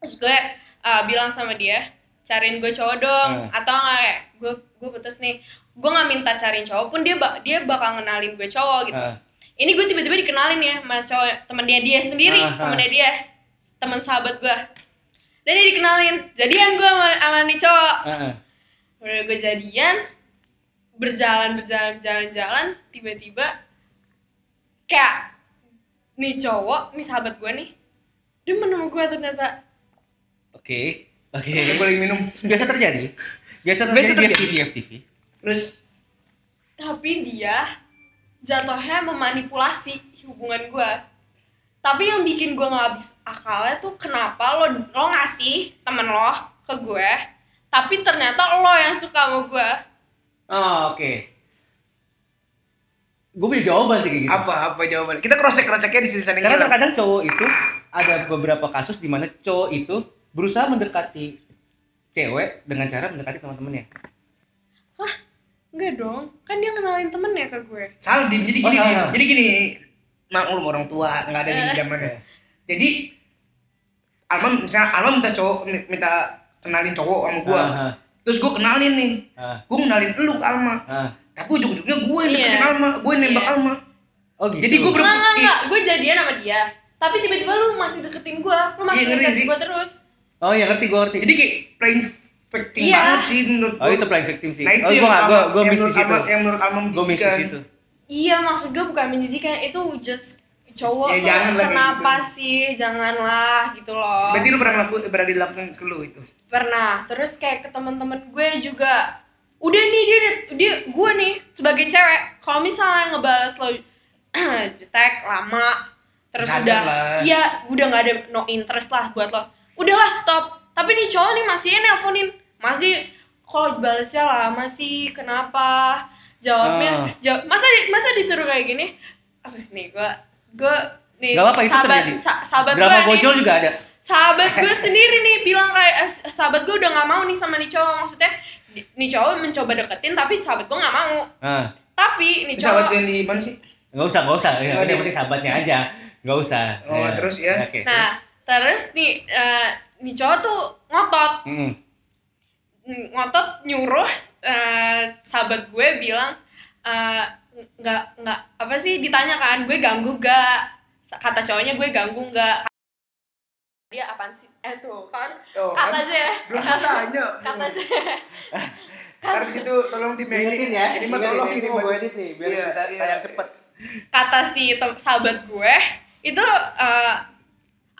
Terus gue eh, bilang sama dia cariin gue cowok dong atau nggak kayak gue gue putus nih gue nggak minta cariin cowok pun dia ba- dia bakal ngenalin gue cowok gitu Ah. ini gue tiba-tiba dikenalin ya sama cowok temennya dia sendiri Ah, ah. temennya dia teman sahabat gue dan dia dikenalin jadian gue sama, sama nih cowok Heeh. Udah gue jadian berjalan berjalan jalan jalan tiba-tiba kayak nih cowok nih sahabat gue nih dia menemu gue ternyata Oke. Oke. iya. Dia Iya, boleh minum. Biasa terjadi. Biasa terjadi Biasa di terjadi. FTV FTV. Terus tapi dia jatuhnya memanipulasi hubungan gue tapi yang bikin gue nggak habis akalnya tuh kenapa lo lo ngasih temen lo ke gue tapi ternyata lo yang suka sama gue Oh, oke. Gue punya jawaban sih kayak gitu. apa apa jawaban? Kita cross check cross checknya di sini sana. Karena terkadang cowok itu ada beberapa kasus di mana cowok itu berusaha mendekati cewek dengan cara mendekati teman-temannya. enggak dong kan dia kenalin temennya ke gue salah Dim. Oh, jadi gini salah, Dim. salah. jadi gini maklum orang tua nggak ada di Eh. zamannya jadi Alman misalnya Alman minta cowok minta kenalin cowok sama gua Ah, terus gua kenalin nih ah, gua kenalin lu ke Alma ah. tapi ujung-ujungnya gua yang Iya. deketin Alma gua yang nembak Iya. Alma Oh gitu. Jadi gua ber- Enggak, enggak, Ih. enggak. Gue jadian sama dia. Tapi tiba-tiba lu masih deketin gue. Lu masih Iya, ngeri deketin sih. gue terus. Oh ya ngerti gue ngerti. jadi kayak playing victim Iya. banget sih menurut oh gua. itu playing victim sih. nah itu oh gue yang nggak gue Alma- gue yang miss di menurut situ. Alma- yang menurut Alma Gue miss di menjijikan. situ. Iya, maksud gue bukan menjijikan. Itu just cowok Ya, tuh jangan lah kayak kenapa gitu. sih? Janganlah gitu loh. berarti lu pernah laku, pernah dilakukan ke lu itu Pernah. Terus kayak ke teman-teman gue juga. Udah nih dia dia gue nih sebagai cewek kalau misalnya ngebales lo jutek lama terus Sadar udah lah. iya udah nggak ada no interest lah buat lo udahlah stop tapi nih cowok nih masih aja nelponin masih kalau balesnya lama sih kenapa Ah. jawabnya jawab masa di- masa disuruh kayak gini Ah, nih gue gue nih Gak apa-apa, itu sahabat terjadi. sa- sahabat Drama gue nih- gojol juga ada. sahabat gue sendiri nih bilang kayak eh, sahabat gue udah nggak mau nih sama nih cowok maksudnya di- nih cowok mencoba deketin tapi sahabat gue nggak mau Ah. tapi nih Itu sahabat cowok yang di mana sih Gak usah, gak usah. Nggak Ya, ada. yang penting sahabatnya aja. Gak usah. Iya. Oh, terus ya. Oke. nah terus nih eh, nih cowok tuh ngotot terus. Hmm. Mm-mm. ngotot nyuruh eh, sahabat gue bilang eh, nggak nggak apa sih ditanya kan gue ganggu gak kata cowoknya gue ganggu gak dia apaan sih eh tuh kan oh, kata aja belum tanya kata aja ya. Harus itu tolong di Diingetin ya. Ini mah tolong ini mau gue edit nih biar Iya, bisa iya. tayang cepet. kata si tem- sahabat gue itu eh,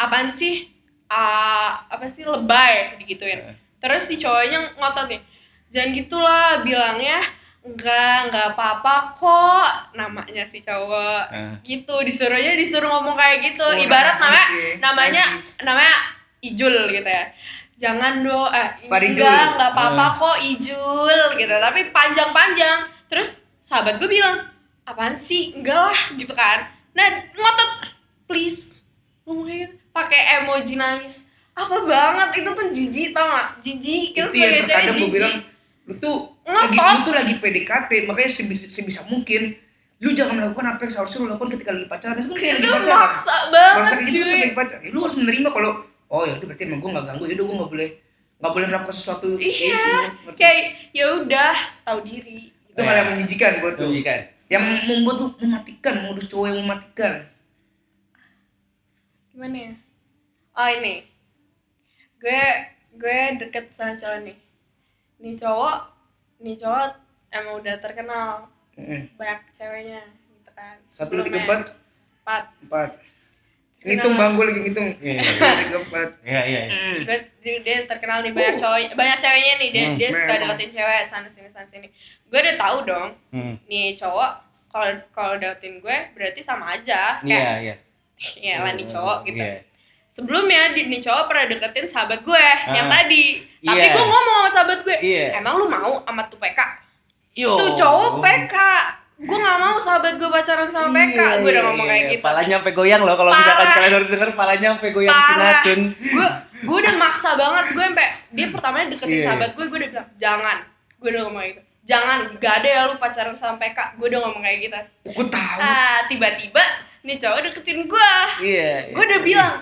apaan sih Eh, apa sih lebay digituin terus si cowoknya ngotot nih jangan gitulah bilangnya enggak enggak apa-apa kok namanya si cowok Heeh. gitu disuruhnya disuruh ngomong kayak gitu Oh, najis ibarat namanya ya, namanya najis. namanya Ijul gitu ya jangan do eh Faridul. enggak enggak apa-apa Nah. Ah. kok Ijul gitu tapi panjang-panjang terus sahabat gue bilang apaan sih enggak lah gitu kan nah ngotot please ngomongin pakai emoji nangis apa banget itu tuh jijik tau gak jijik itu yang kita sebagai cewek terkadang gue jijik bilang lu tuh lagi Ngotot. lu tuh lagi PDKT makanya sebisa, sebisa mungkin lu jangan melakukan apa yang seharusnya lu lakukan ketika lagi pacaran itu kan kayak lagi itu pacaran maksa banget maksa kayak gitu pas cuy lagi pacaran ya, lu harus menerima kalau oh ya udah berarti emang gue nggak ganggu ya udah gue nggak boleh nggak boleh melakukan sesuatu Iya, itu, kayak kayak ya udah tahu diri itu hal yang menjijikan gue Itu tuh kan. yang membuat lu mematikan modus cowok yang mematikan gimana ya oh ini gue gue deket sama cowok nih nih cowok nih cowok emang udah terkenal Mm. banyak ceweknya gitu kan satu dua tiga Sebelumnya. empat empat empat ngitung bang gue lagi ngitung Iya, iya, Satu, dua, tiga empat Iya, iya. iya. Mm. gue dia, dia terkenal nih banyak cowok banyak ceweknya nih dia Oh. Hmm, dia suka memang. deketin cewek sana sini sana sini gue udah tahu dong Hmm. nih cowok kalau kalau deketin gue berarti sama aja Iya, kayak iya. ya lah nih cowok gitu Iya. sebelumnya di, nih cowok pernah deketin sahabat gue yang Ah. tadi tapi Iya. gue ngomong sama sahabat gue Iya. emang lu mau sama tuh PK Yo. tuh cowok PK gue nggak mau sahabat gue pacaran sama PK gue udah ngomong kayak gitu Iya, Palanya sampai goyang loh kalau misalkan Parah. kalian harus denger palanya sampai goyang parah kinacun. gue gue udah maksa banget gue sampai dia pertamanya deketin Iya. sahabat gue gue udah bilang jangan gue udah ngomong kayak gitu jangan gak ada ya lu pacaran sama PK gue udah ngomong kayak gitu gue tahu ah tiba-tiba nih cowok deketin gue Iya. gue udah bilang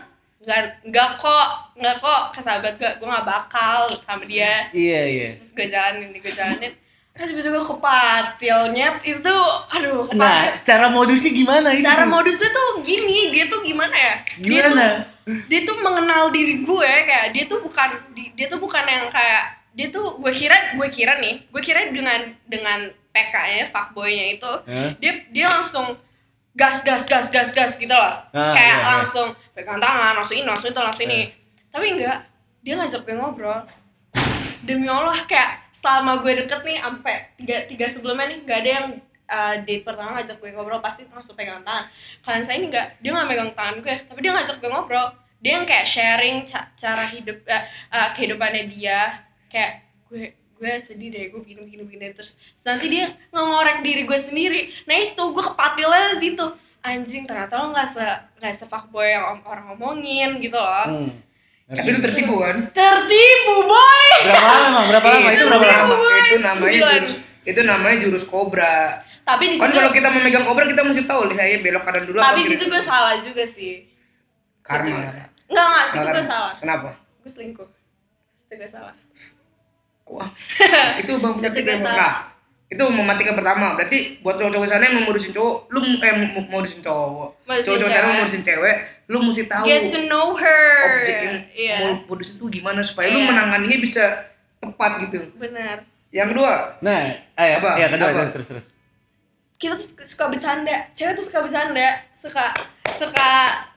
nggak nggak kok nggak kok ke sahabat gue gue nggak bakal sama dia Iya iya. terus gue jalanin gue jalanin ah tiba-tiba gue kepatilnya itu aduh kepatil. Nah, cara modusnya gimana itu? cara tuh? modusnya tuh gini dia tuh gimana ya dia tuh gimana? dia tuh mengenal diri gue kayak dia tuh bukan di- dia tuh bukan yang kayak dia tuh gue kira gue kira nih gue kira dengan dengan PK-nya fuckboy-nya itu Hah? dia dia langsung gas gas gas gas gas gitu loh Ah, kayak iya, iya. langsung pegang tangan langsung ini langsung itu langsung ini tapi enggak dia ngajak gue ngobrol demi allah kayak selama gue deket nih sampai tiga tiga sebelumnya nih nggak ada yang uh, date pertama ngajak gue ngobrol pasti langsung pegang tangan kalian saya ini enggak dia nggak megang tangan gue tapi dia ngajak gue ngobrol dia yang kayak sharing ca- cara hidup eh, eh, kehidupannya dia kayak gue gue sedih deh gue begini begini begini terus nanti dia ngorek diri gue sendiri nah itu gue kepatilnya di situ anjing ternyata lo nggak se nggak sepak boy yang om- orang ngomongin gitu loh Hmm. Ah. Tapi lu tertipu kan? tertipu boy berapa lama? Berapa lama? Itu Iya, berapa iya. lama? Itu namanya Sembilan. jurus itu namanya jurus kobra. tapi di Kan situ kalau kita memegang kobra kita mesti tahu lihai belok kanan dulu tapi kiri di situ dulu. gue salah juga sih karma. nggak nggak di situ Karma. gue salah Kenapa? gue selingkuh Di situ gue salah Wah, itu bang penyakit Satu yang dosa. nah, itu mematikan pertama. Berarti buat cowok-cowok sana yang mau modusin cowok, lu eh mau mau modusin cowok. Modusin Cowok-cowok sana cewek. mau modusin cewek, lu mesti tahu get to know her objek yang iya mau modusin tuh gimana supaya lu Iya. menanganinya bisa tepat gitu. benar Yang kedua, Nah, eh, Apa? ya kedua Apa? kedua, terus terus. kita tuh suka bercanda cewek tuh suka bercanda suka suka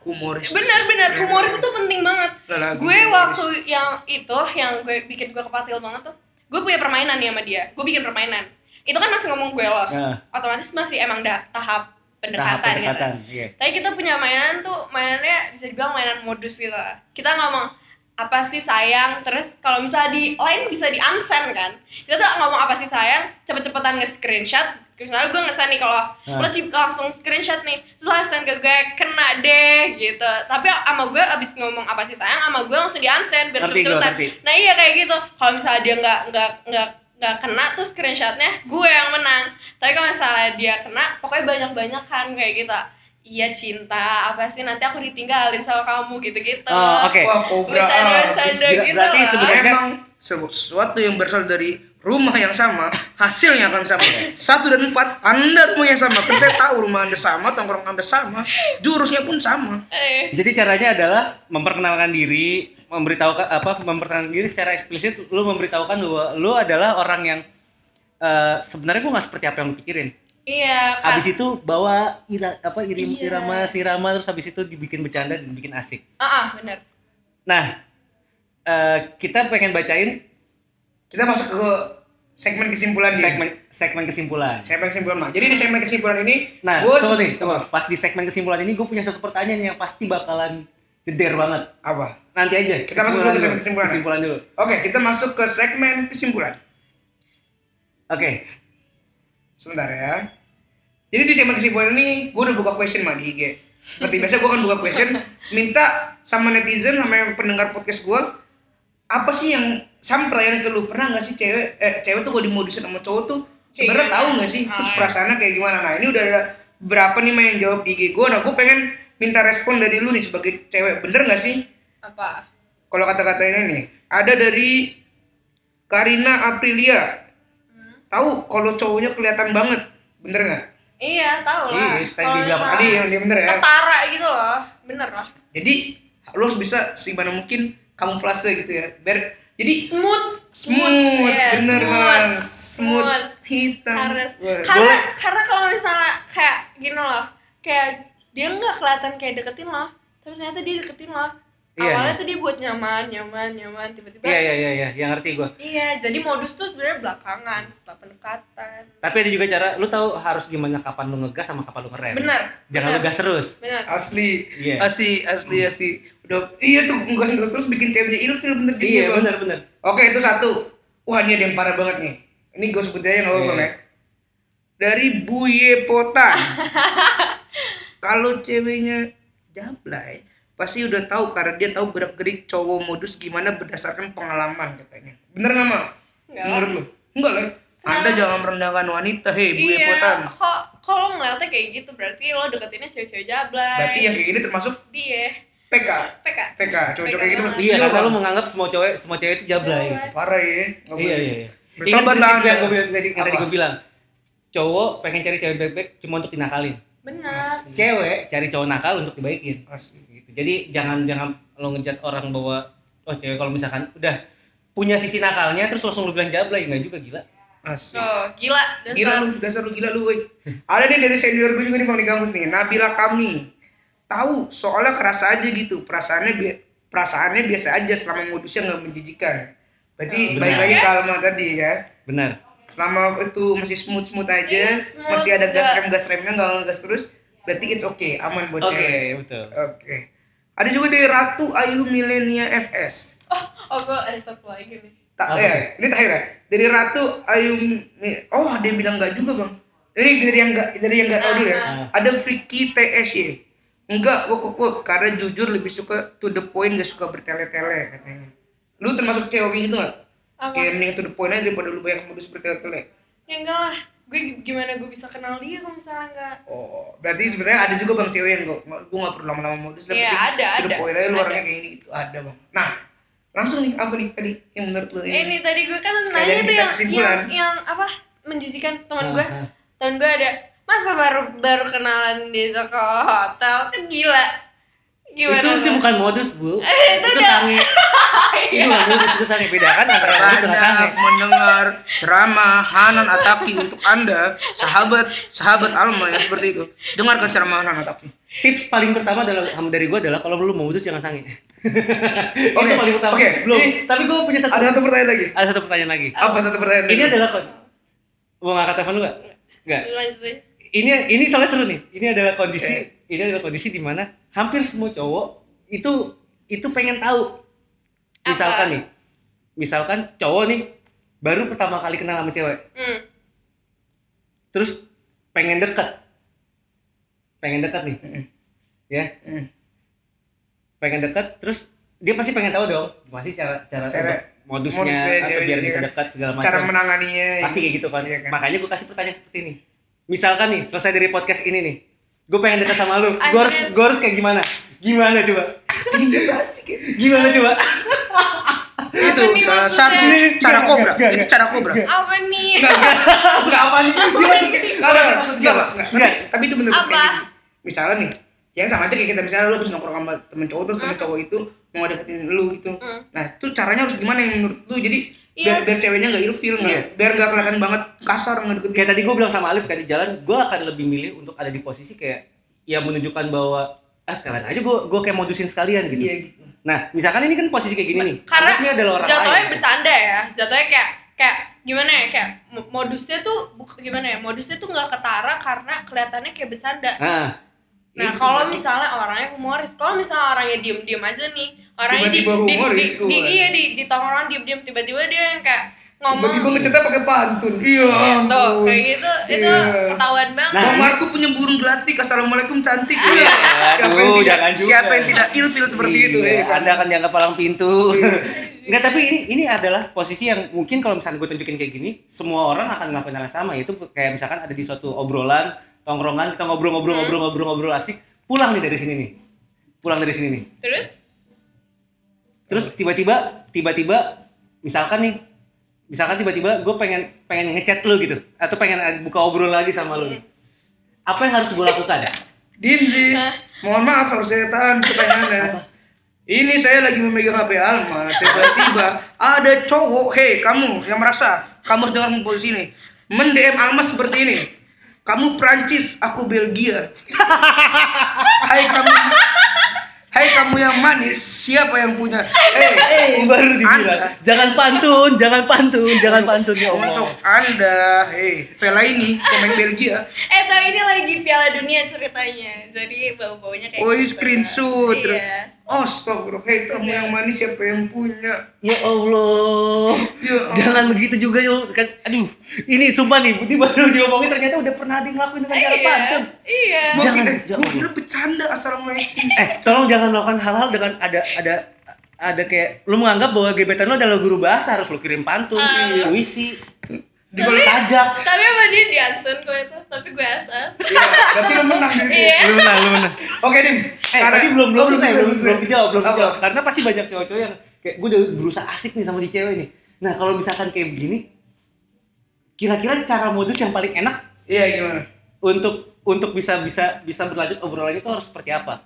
humoris. benar-benar Benar. humoris itu penting banget Lah, lah, gue humoris. waktu yang itu yang gue bikin gue kepatil banget tuh gue punya permainan nih sama dia gue bikin permainan itu kan masih ngomong gue loh Nah, otomatis masih emang dah tahap pendekatan, tahap pendekatan. gitu Iya. tapi kita punya mainan tuh mainannya bisa dibilang mainan modus gitu lah kita ngomong apa sih sayang terus kalau misalnya di lain bisa di unsend kan kita tuh ngomong apa sih sayang cepet-cepetan nge screenshot misalnya gue ngesan nih kalau Hmm. lo cip- langsung screenshot nih terus langsung ke gue kena deh gitu tapi sama gue abis ngomong apa sih sayang sama gue langsung di unsend biar Ngerti, gue cepet-cepetan ngerti. nah iya kayak gitu kalau misalnya dia nggak nggak nggak nggak kena tuh screenshotnya gue yang menang tapi kalau misalnya dia kena pokoknya banyak banyakan kayak gitu iya cinta apa sih nanti aku ditinggalin sama kamu gitu gitu Oh, oke. Wah, kobra. bercanda ah. bercanda Ber- gitu berarti loh. sebenarnya- Emang kan? sesuatu yang berasal dari rumah yang sama, hasilnya akan sama. Iya. Satu dan empat, anda rumah yang sama. Kan saya tahu rumah anda sama, tongkrong anda sama, jurusnya pun sama. eh, Jadi caranya adalah memperkenalkan diri, memberitahukan apa memperkenalkan diri secara eksplisit lu memberitahukan bahwa lu adalah orang yang eh, sebenarnya gua nggak seperti apa yang lu pikirin. iya pas Habis itu bawa ira, apa irim, Iya. irama sirama terus habis itu dibikin bercanda dan bikin asik. ah ah, bener Nah, eh, kita pengen bacain Kita masuk ke segmen kesimpulan nih. segmen segmen kesimpulan. Segmen kesimpulan mah. Jadi di segmen kesimpulan ini, Nah, gua tunggu se- nih, tunggu. Pas di segmen kesimpulan ini gue punya satu pertanyaan yang pasti bakalan jeder banget. apa? Nanti aja. Kita masuk dulu ke segmen kesimpulan. Kesimpulan dulu. Oke, kita masuk ke segmen kesimpulan. Oke. Sebentar ya. Jadi di segmen kesimpulan ini, gue udah buka question mah di IG. Seperti biasa gue kan buka question, minta sama netizen, sama yang pendengar podcast gue, apa sih yang sama pertanyaan ke lu pernah nggak sih cewek eh cewek tuh gue dimodusin sama cowok tuh sebenarnya Kayak tahu gimana? nggak sih terus Ah. perasaannya kayak gimana nah ini udah ada berapa nih main jawab di IG gue nah gue pengen minta respon dari lu nih sebagai cewek bener nggak sih apa kalau kata-katanya nih ada dari Karina Aprilia tahu kalau cowoknya kelihatan banget bener nggak iya tau lah Iya, tadi Kalau dibilang misalnya tadi yang dia bener ya ketara gitu loh bener lah jadi lu harus bisa segimana mungkin kamuflase gitu ya biar jadi smooth smooth Iya, bener smooth. Bang. smooth, Smooth. hitam harus Wah. karena karena kalau misalnya kayak gini loh kayak dia nggak kelihatan kayak deketin loh tapi ternyata dia deketin loh Iya, awalnya iya. tuh dia buat nyaman nyaman nyaman tiba-tiba Iya, iya, iya, iya. Yang ngerti gue. iya, jadi modus tuh sebenarnya belakangan setelah pendekatan Tapi ada juga cara, lu tahu harus gimana kapan lu ngegas sama kapan lu ngerem. benar Iya. Jangan lu benar, Oh, gas terus. benar asli Iya. asli asli asli udah iya tuh ngegas ngegas terus bikin ceweknya ilfil bener gitu juga, Iya, Bang. benar, benar. Oke itu satu. Wah ini ada yang parah banget nih. Ini gue sebut aja nggak apa-apa Iya. ya. Dari Buye Pota. Kalau ceweknya jablay, pasti udah tahu karena dia tahu gerak gerik cowok modus gimana berdasarkan pengalaman katanya. Bener nggak Ma? Iya. Enggak lah. Menurut lu? Enggak lah. Anda jangan merendahkan wanita, hei Buye iya Pota. kok kalau ngeliatnya kayak gitu berarti lo deketinnya cewek-cewek jablay Iya. Berarti yang kayak gini termasuk dia PK PK PK cowok-cowok kayak gitu Iya, masih setuju, karena lu Bang. menganggap semua cewek semua cewek itu jablay. Jablay. parah ya Iya, nggak boleh. iya, iya. Ingat bertobat lah prinsip yang Anda. gue bilang tadi, yang tadi kan Apa? gue bilang. Cowok pengen cari cewek baik-baik cuma untuk dinakalin. Hmm. benar Asli. Cewek cari cowok nakal untuk dibaikin. Asli. Gitu. Jadi jangan jangan lo ngejudge orang bahwa oh cewek kalau misalkan udah punya sisi nakalnya terus langsung lu bilang jablay nggak juga gila. Asli. oh gila dasar Gila lu, dasar lu gila lu, woi. Ada nih dari senior gue juga nih Bang di kampus nih, Nabila Kamni. Tahu, soalnya kerasa aja gitu, perasaannya bi- perasaannya biasa aja selama modusnya nggak menjijikan. Oh, Berarti benar. baik lagi ke Alma tadi ya. Benar. Selama itu masih smooth-smooth aja, Iya, smooth, masih ada gas nggak- rem-gas remnya nggak ngegas terus, berarti it's okay, aman Oke, buat Oh, cewek. betul. Oke. Ada juga dari Ratu Ayu Milenia FS. oh oh gue ada satu lagi nih Tak, Apa eh, ini terakhir ya. Dari Ratu Ayu Oh, ada yang bilang enggak juga, Bang. Ini dari yang enggak dari yang enggak tahu dulu ya. Ah. Ada Vicky TSY. Enggak, wok wok wok karena jujur lebih suka to the point gak suka bertele-tele katanya. Lu termasuk cewek kayak gitu enggak? apa Kayak mending to the point aja daripada lu banyak modus bertele-tele. ya enggak lah gue gimana gue bisa kenal dia kalau misalnya enggak Oh, berarti sebenarnya ada juga Bang cewek yang gua gua enggak perlu lama-lama modus lah. Iya, penting ada, To the ada. point aja lu Ada. orangnya kayak gini gitu ada, Bang. Nah, langsung nih apa nih tadi yang menurut Iya. lu eh ini? ini tadi gue kan Sekalian nanya tuh kita yang, kesimpulan. yang yang apa menjijikan teman Ah, gue ah. teman gue ada masa baru baru kenalan di ke hotel kan gila gimana Itu sih lu? bukan modus, Bu. Eh, itu itu udah. sange. Itu bukan modus, itu sange. Bedakan antara modus dengan sange. Anda mendengar ceramah Hanan Ataki untuk Anda, sahabat sahabat Alma yang seperti itu. Dengarkan ceramah Hanan Ataki. Tips paling pertama dalam dari gue adalah kalau lu mau modus jangan sange. Oke, Itu paling pertama. oke. Belum. Ini- Tapi gue punya satu Ada satu pertanyaan lagi. ada satu pertanyaan lagi. Apa satu pertanyaan Ini lagi? adalah kon- mau ngangkat telepon lu gak? Enggak. Lu lanjut aja. Ini ini soalnya seru nih. Ini adalah kondisi Eh. ini adalah kondisi di mana hampir semua cowok itu itu pengen tahu. Misalkan Apa? nih. Misalkan cowok nih baru pertama kali kenal sama cewek, Hmm. terus pengen deket. Pengen deket nih, Mm-mm. ya. Mm. Pengen deket terus dia pasti pengen tahu dong gimana sih cara cara Cara- untuk modusnya, modusnya atau cewek biar ini bisa kan. dekat segala macam. Cara menanganinya. pasti kayak gitu kan. Iya kan. Makanya gue kasih pertanyaan seperti ini. Misalkan nih selesai dari podcast ini nih, gue pengen dekat sama lu. Gue harus Anjir. gue harus kayak gimana? Gimana coba? Biasa aja kayak- Gimana coba? Itu nih salah maksudnya? satu cara Gak, kobra. gak, Itu gak. cara kobra. apa nih Enggak apa nih? Gimana? Enggak, enggak, enggak, enggak, enggak. Enggak. Tapi- Tapi itu bener bener Apa? kayak gini. Misalnya nih, ya sama aja kayak kita misalnya lu habis nongkrong sama temen cowok terus temen cowok itu mau deketin lu gitu. Hmm. Nah, itu caranya harus gimana yang menurut lu? Jadi biar, Iya. biar ceweknya enggak ilfil enggak, biar enggak kelihatan banget kasar ngedeketin. Kayak tadi gue bilang sama Alif kan di jalan, gue akan lebih milih untuk ada di posisi kayak ya menunjukkan bahwa ah sekalian aja gue gue kayak modusin sekalian gitu. Iya gitu. Nah, misalkan ini kan posisi kayak gini nih. karena Alif ini adalah orang jatuhnya lain. bercanda ya jatuhnya kayak kayak gimana ya kayak mo- modusnya tuh buk- gimana ya modusnya tuh nggak ketara karena kelihatannya kayak bercanda Nah, nah Itu kalau berarti. misalnya orangnya humoris kalau misalnya orangnya diem diem aja nih orangnya di Tiba-tiba di, di, humoris, di- gua. iya di di tongkrongan diem diem tiba-tiba dia yang kayak ngomong Tiba-tiba ngecetnya pakai pantun. Iya. tuh ampun. kayak gitu itu Iya. ketahuan banget Nah, Bang ini- Marco punya burung gelatik. Assalamualaikum cantik. Iya. Siapa yang aduh, tidak- jangan juga. Siapa yang tidak ilfil seperti Iya, itu ya? kan? Iya. Anda akan dianggap palang pintu. Enggak, tapi ini, ini adalah posisi yang mungkin kalau misalnya gue tunjukin kayak gini, semua orang akan ngelakuin hal yang sama. Yaitu kayak misalkan ada di suatu obrolan, tongkrongan, kita ngobrol-ngobrol-ngobrol-ngobrol-ngobrol asik, pulang nih dari sini nih. Pulang dari sini nih. terus Terus tiba-tiba, tiba-tiba, misalkan nih, misalkan tiba-tiba gue pengen pengen ngechat lu gitu, atau pengen buka obrol lagi sama Iya. lu. Apa yang harus gue lakukan? Dimzi, mohon maaf harus saya tahan pertanyaannya. Ini saya lagi memegang HP Alma, tiba-tiba ada cowok, hei kamu yang merasa kamu sedang dalam posisi ini, mendm Alma seperti ini. Kamu Prancis, aku Belgia. Hai kamu, hai kamu yang manis, siapa yang punya? Hei, Eh, baru dibilang. Anda. Jangan pantun, jangan pantun, jangan pantun ya untuk Allah. anda, hei Vela ini pemain Belgia. eh tapi ini lagi Piala Dunia ceritanya jadi bau baunya kayak Oh ini gitu. screenshot. iya Oh stop bro, hei kamu yang manis siapa yang punya? Ya Allah. Ya Allah. Jangan begitu juga ya kan. Aduh, ini sumpah nih, ini Hmm. baru diomongin ternyata udah pernah ada yang ngelakuin dengan Eh, cara Iya, pantun. Iya. Gua Jangan, kira, jangan. gua kira bercanda assalamualaikum. Eh, tolong jangan melakukan hal-hal dengan ada ada ada kayak lu menganggap bahwa gebetan lu adalah guru bahasa harus Ah. lu kirim pantun, puisi, Digolek. sajak. Tapi apa dia di Anson kok itu? Tapi PSS Iya, berarti lu menang gitu. Iya. Lu menang, lu menang. Oke, Dim. Eh, Karena tadi belum belum belum selesai, belum belum dijawab, belum Apa? dijawab. Karena pasti banyak cowok-cowok yang kayak gue udah berusaha asik nih sama di cewek nih. Nah kalau misalkan kayak begini, kira-kira cara modus yang paling enak Iya, gimana? untuk untuk bisa bisa bisa berlanjut obrolannya itu harus seperti apa?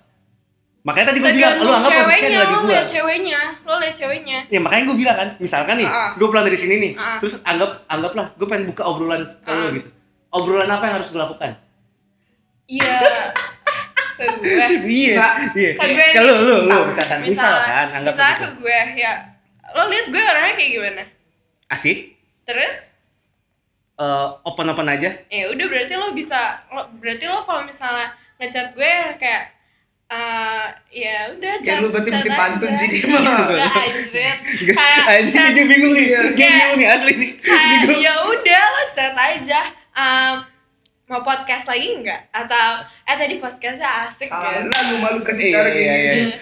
Makanya tadi gue bilang, lu tergantung anggap posisinya ceweknya adalah di lo gue. liat ceweknya lo liat ceweknya Ya makanya gue bilang kan, misalkan nih, Ah. gue pulang dari sini nih, Ah. terus anggap anggaplah gue pengen buka obrolan ke lu Ah. gitu. Obrolan apa yang harus gue lakukan? iya ke gue Iya, Nggak. iya. Ke gue nih. Kalau lu, lu Misal- misalkan, Kan, misalkan, anggap misalkan begitu. ke gue ya lo liat gue orangnya kayak gimana Asik, terus eh, open-open aja, ya udah berarti lo bisa lo, berarti lo kalau misalnya ngechat gue kayak eh ya udah Ya chat- lu berarti chat mesti aja. pantun sih, Dim. Enggak, anjir kayak Anjing chat- dia bingung nih, Iya. dia bingung nih asli nih. Ini kayak gua- ya udah lo chat aja Em, mau podcast lagi nggak atau eh tadi podcastnya asik kan Nah, Salah lu malu Iya, kasih cara iya, iya, gini. iya.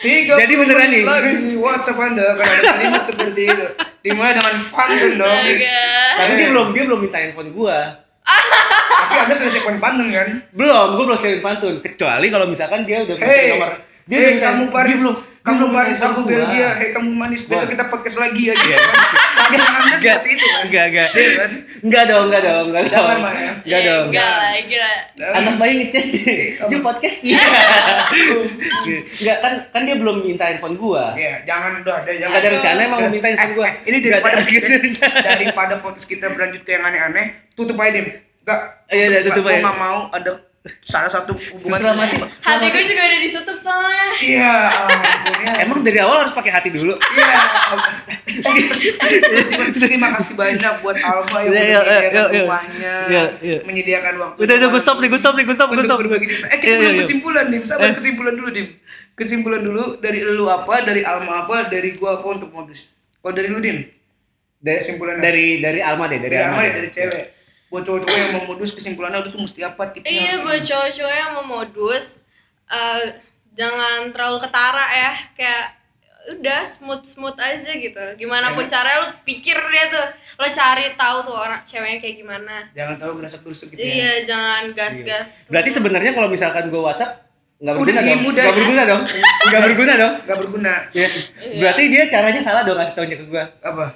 Tiga Jadi puluh beneran nih. lagi WhatsApp Anda kalau ada kalimat seperti itu. Dimulai dengan pantun dong. Astaga. Tapi dia belum dia belum minta handphone gua. Tapi Anda sudah siapkan pantun kan? Belum, gua belum siapin pantun. Kecuali kalau misalkan dia udah minta Hei, nomor dia udah hei minta- kamu Paris, dia belum dia kamu belum minta Paris, handphone aku gua. Belgia, hei kamu manis, besok Gua. Iya, kita podcast lagi aja. Pantun Anda Enggak. seperti itu kan? Enggak, enggak. Iya kan? Enggak dong, enggak dong, enggak dong. Jangan Maya. Enggak Eh, dong. enggak lah, gila Anak bayi ngeces sih. Dia podcast sih. Enggak kan kan dia belum minta handphone gua. Iya, jangan udah ada jangan. Enggak ada rencana emang mau minta handphone gua. Eh, Ini Nggak daripada ada- nggak ada rencana. daripada podcast kita berlanjut ke yang aneh-aneh, tutup aja Dim. Enggak. Iya, iya, tutup Gua aja. nggak mau ada salah satu hubungan Setelah mati. hati gue juga udah ditutup soalnya Iya, ampun ya. Emang dari awal harus pakai hati dulu. Iya. Terima kasih banyak buat Alfa yang Iya, iya, Oh, udah iya, menyediakan iya. rumahnya, Iya, iya. menyediakan waktu. Udah udah gue stop nih, gue stop nih, gue stop, gue Untuk stop. berbagi cerita. Eh kita Iya, belum iya, iya. kesimpulan dim, sabar kesimpulan dulu dim. Kesimpulan dulu dari lu apa, dari Alma apa, dari gua apa untuk modus. Kalau dari lu dim, dari Kesimpulannya. dari dari Alma deh dari, dari Alma Alma ya, dari cewek. Buat cowok-cowok yang mau modus kesimpulannya itu tuh mesti apa tipsnya? iya harus- buat cowok-cowok yang mau modus eh, jangan terlalu ketara ya kayak udah smooth smooth aja gitu gimana pun caranya lo pikir dia tuh lo cari tahu tuh orang ceweknya kayak gimana Jangan terlalu gerasa gerusuk gitu ya. iya jangan gas gas berarti sebenarnya kalau misalkan gue WhatsApp nggak Udah berguna dong diem, udah. nggak berguna dong nggak berguna dong Gak berguna. ya berarti dia caranya salah dong ngasih taunya ke gue Apa?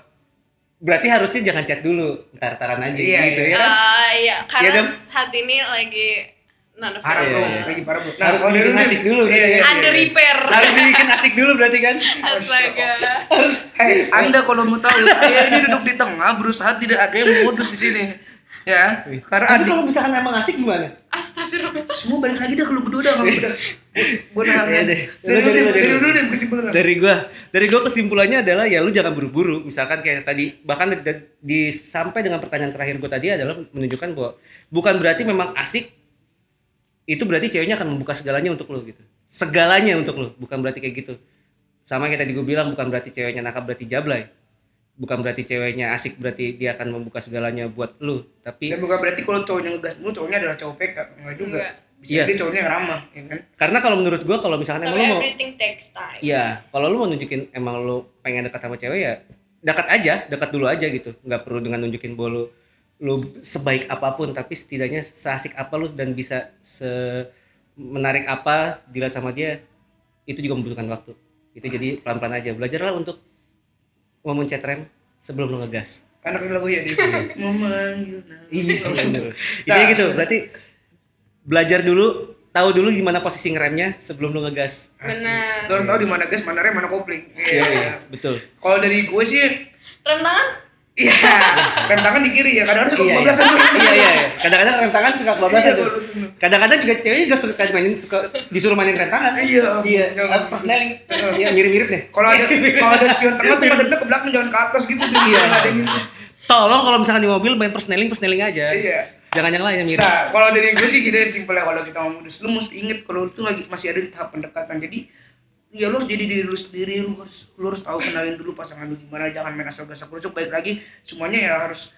berarti harusnya jangan chat dulu ntar taran aja Iya, gitu iya. ya kan Ah, iya Iya, karena Dem? saat ini lagi non Parah Iya, bro, iya. lagi parah bro. Harus Nah, kalau dari bikin lu, Dim. asik dulu, Iya, gitu ya. iya. under repair harus dibikin asik dulu berarti kan astaga Hei, Anda kalau mau tahu, saya ini duduk di tengah, berusaha tidak ada yang modus di sini. Ya, karena tapi Andi- kalau misalkan emang asik gimana astagfirullah semua balik lagi dah kalau berdua dah kalau berdua. Gua udah Iya, kangen. deh. Dari Lu, dari dulu, lu, dari dari lu. dulu deh kesimpulan. dari gua dari gua kesimpulannya adalah ya lu jangan buru-buru misalkan kayak tadi bahkan di, di- sampai dengan pertanyaan terakhir gua tadi adalah menunjukkan bahwa bukan berarti memang asik itu berarti ceweknya akan membuka segalanya untuk lu gitu segalanya untuk lu bukan berarti kayak gitu sama kayak tadi gua bilang bukan berarti ceweknya nakal berarti jablay bukan berarti ceweknya asik berarti dia akan membuka segalanya buat lu Dan tapi bukan berarti kalau cowoknya ngegas mulu, cowoknya adalah cowok PK, enggak juga. Enggak. Bisa Iya. jadi cowoknya yang ramah, ya kan? karena kalau menurut gua kalau misalkan tapi emang lu mau everything takes time Iya, kalau lu mau nunjukin emang lu pengen dekat sama cewek ya dekat aja, dekat dulu aja gitu. Nggak perlu dengan nunjukin bahwa lu lu sebaik apapun, tapi setidaknya seasik apa lu dan bisa se menarik apa dilihat sama dia itu juga membutuhkan waktu. Itu jadi pelan-pelan aja. Belajarlah untuk memencet rem sebelum lu ngegas. Anak lagu ya dia. Memanggil nama. Iya, bener. Intinya gitu. Berarti belajar dulu, tahu dulu gimana posisi ngeremnya sebelum lu ngegas. benar Lu harus tahu di mana gas, mana rem, mana kopling. Iya, Iya. iya, betul. Kalau dari gue sih rem tangan Iya, rem tangan di kiri ya, kadang harus Iya, iya. 15 iya iya iya. kadang-kadang rem tangan suka kebablasan Iya, tuh kebablasan. kadang-kadang juga cewek juga suka mainin suka disuruh mainin rem tangan Iya. iya Ah, Jangan. persneling iya mirip-mirip deh Kalau ada kalau ada spion tengah tuh madepnya ke belakang jangan ke atas gitu. Iya. tolong kalau misalkan di mobil main persneling persneling aja Iya. jangan yang lain yang mirip Nah, kalau dari gue sih gini simpel ya kalau kita mau modus, lu mesti inget kalau lu tuh lagi masih ada di tahap pendekatan. Jadi ya lu harus jadi diri lu sendiri, lu harus lu harus tahu kenalin dulu pasangan lu gimana, jangan main asal gasak kerucuk. Baik lagi semuanya ya harus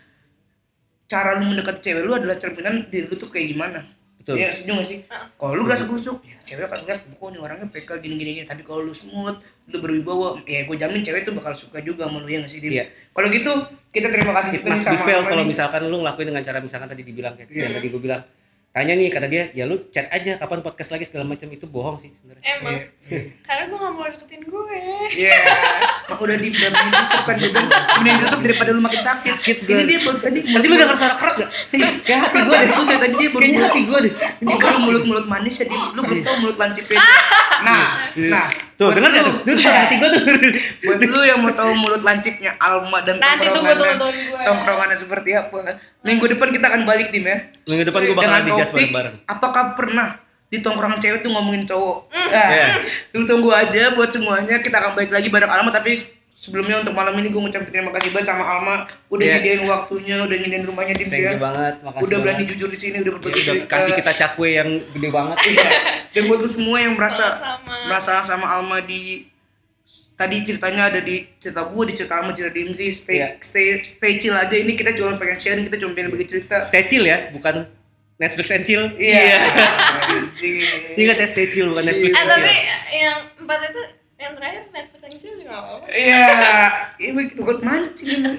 cara lu mendekati cewek lu adalah cerminan diri lu tuh kayak gimana. Betul. ya setuju gak sih Heeh. kalau lu gerasa gerusuk ya cewek akan lihat kok nih orangnya PK gini gini gini tapi kalau lu smooth lu berwibawa ya gue jamin cewek tuh bakal suka juga sama lu ya gak sih Dim? Iya. kalau gitu kita terima kasih juga Mas nih sama Divel Amani. kalau misalkan lu ngelakuin dengan cara misalkan tadi dibilang kayak Iya. yang tadi gue bilang tanya nih kata dia ya lu chat aja kapan podcast lagi segala macam itu bohong sih sebenarnya emang Iya. karena gue gak mau deketin gue Iya. Mah udah di udah ditusuk kan dia bilang mending tutup daripada lu makin sakit. Sakit, Ini Gon. dia baru tadi. tadi lu denger suara kerak gak Iya. kayak hati gue deh Itu dia tadi dia baru kayaknya hati gue deh Ini kalau mulut-mulut manis jadi lu belum tahu mulut lancipnya. Iya. Ah. Nah, nah. tuh buat denger gak lu- tuh Tuh, suara hati gue tuh Buat lu yang mau tahu mulut lancipnya Alma dan Nanti tunggu tongkrongannya- tunggu gue. Tongkrongannya seperti apa. Minggu depan kita akan balik tim ya. minggu depan gue bakalan Dengan dijas topik, bareng-bareng Apakah pernah di tongkrongan cewek tuh ngomongin cowok? Hmm. Nah, Iya. Lu tunggu aja buat semuanya. Kita akan balik lagi bareng Alma. Tapi sebelumnya untuk malam ini gue ngucapin terima kasih banget sama Alma. Udah Iya. nyediain waktunya, udah nyediain rumahnya tim thank you ya. banget makasih Udah berani banget. jujur di sini, udah Ya, betul udah kasih kita cakwe yang gede banget Iya. Dan buat lu semua yang merasa Sama-sama. merasa sama Alma di tadi ceritanya ada di cerita gue, di cerita Alma, cerita Dimzi, stay, Iya. stay, stay chill aja. Ini kita cuma pengen sharing, kita cuma pengen bagi cerita. stay chill ya bukan Netflix and chill Iya. Anjing. ingat ya stay chill Iya. bukan Netflix eh and tapi chill yang empat itu yang terakhir Netflix yang sini juga gak apa-apa Iya, ini ikut mancing. emang.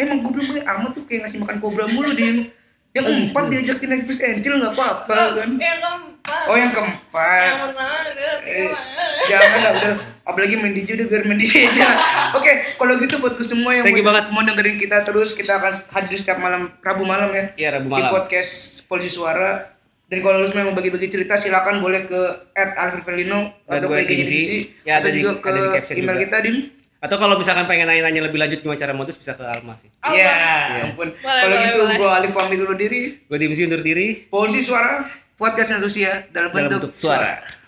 Emang gue bilang gue Alma tuh kayak ngasih makan kobra mulu dia. Yang empat diajakin Netflix Angel nggak apa-apa kan? yang keempat Oh yang yang keempat. pertama udah Eh, tiga Jangan lah udah. Apalagi main DJ udah biar main DJ aja. Oke, kalau gitu buat gue semua yang Thank you mau, banget. mau dengerin kita terus kita akan hadir setiap malam Rabu malam ya. Iya, Rabu Di malam. podcast Polisi Suara. Dan kalau lu semua mau bagi-bagi cerita silakan boleh ke @alvinvelino Dan atau gue ke IG Dimzi. Dimzi, Ya, ada atau di- juga ke ada di caption email juga. kita Dim. atau kalau misalkan pengen nanya-nanya lebih lanjut gimana cara modus bisa ke Alma sih Apa? Iya, ampun. Boleh, Kalau boleh, gitu boleh. gua Alif pamit dulu diri. gue Dimsi undur diri Polisi suara, podcast yang Rusia dalam, dalam bentuk, suara.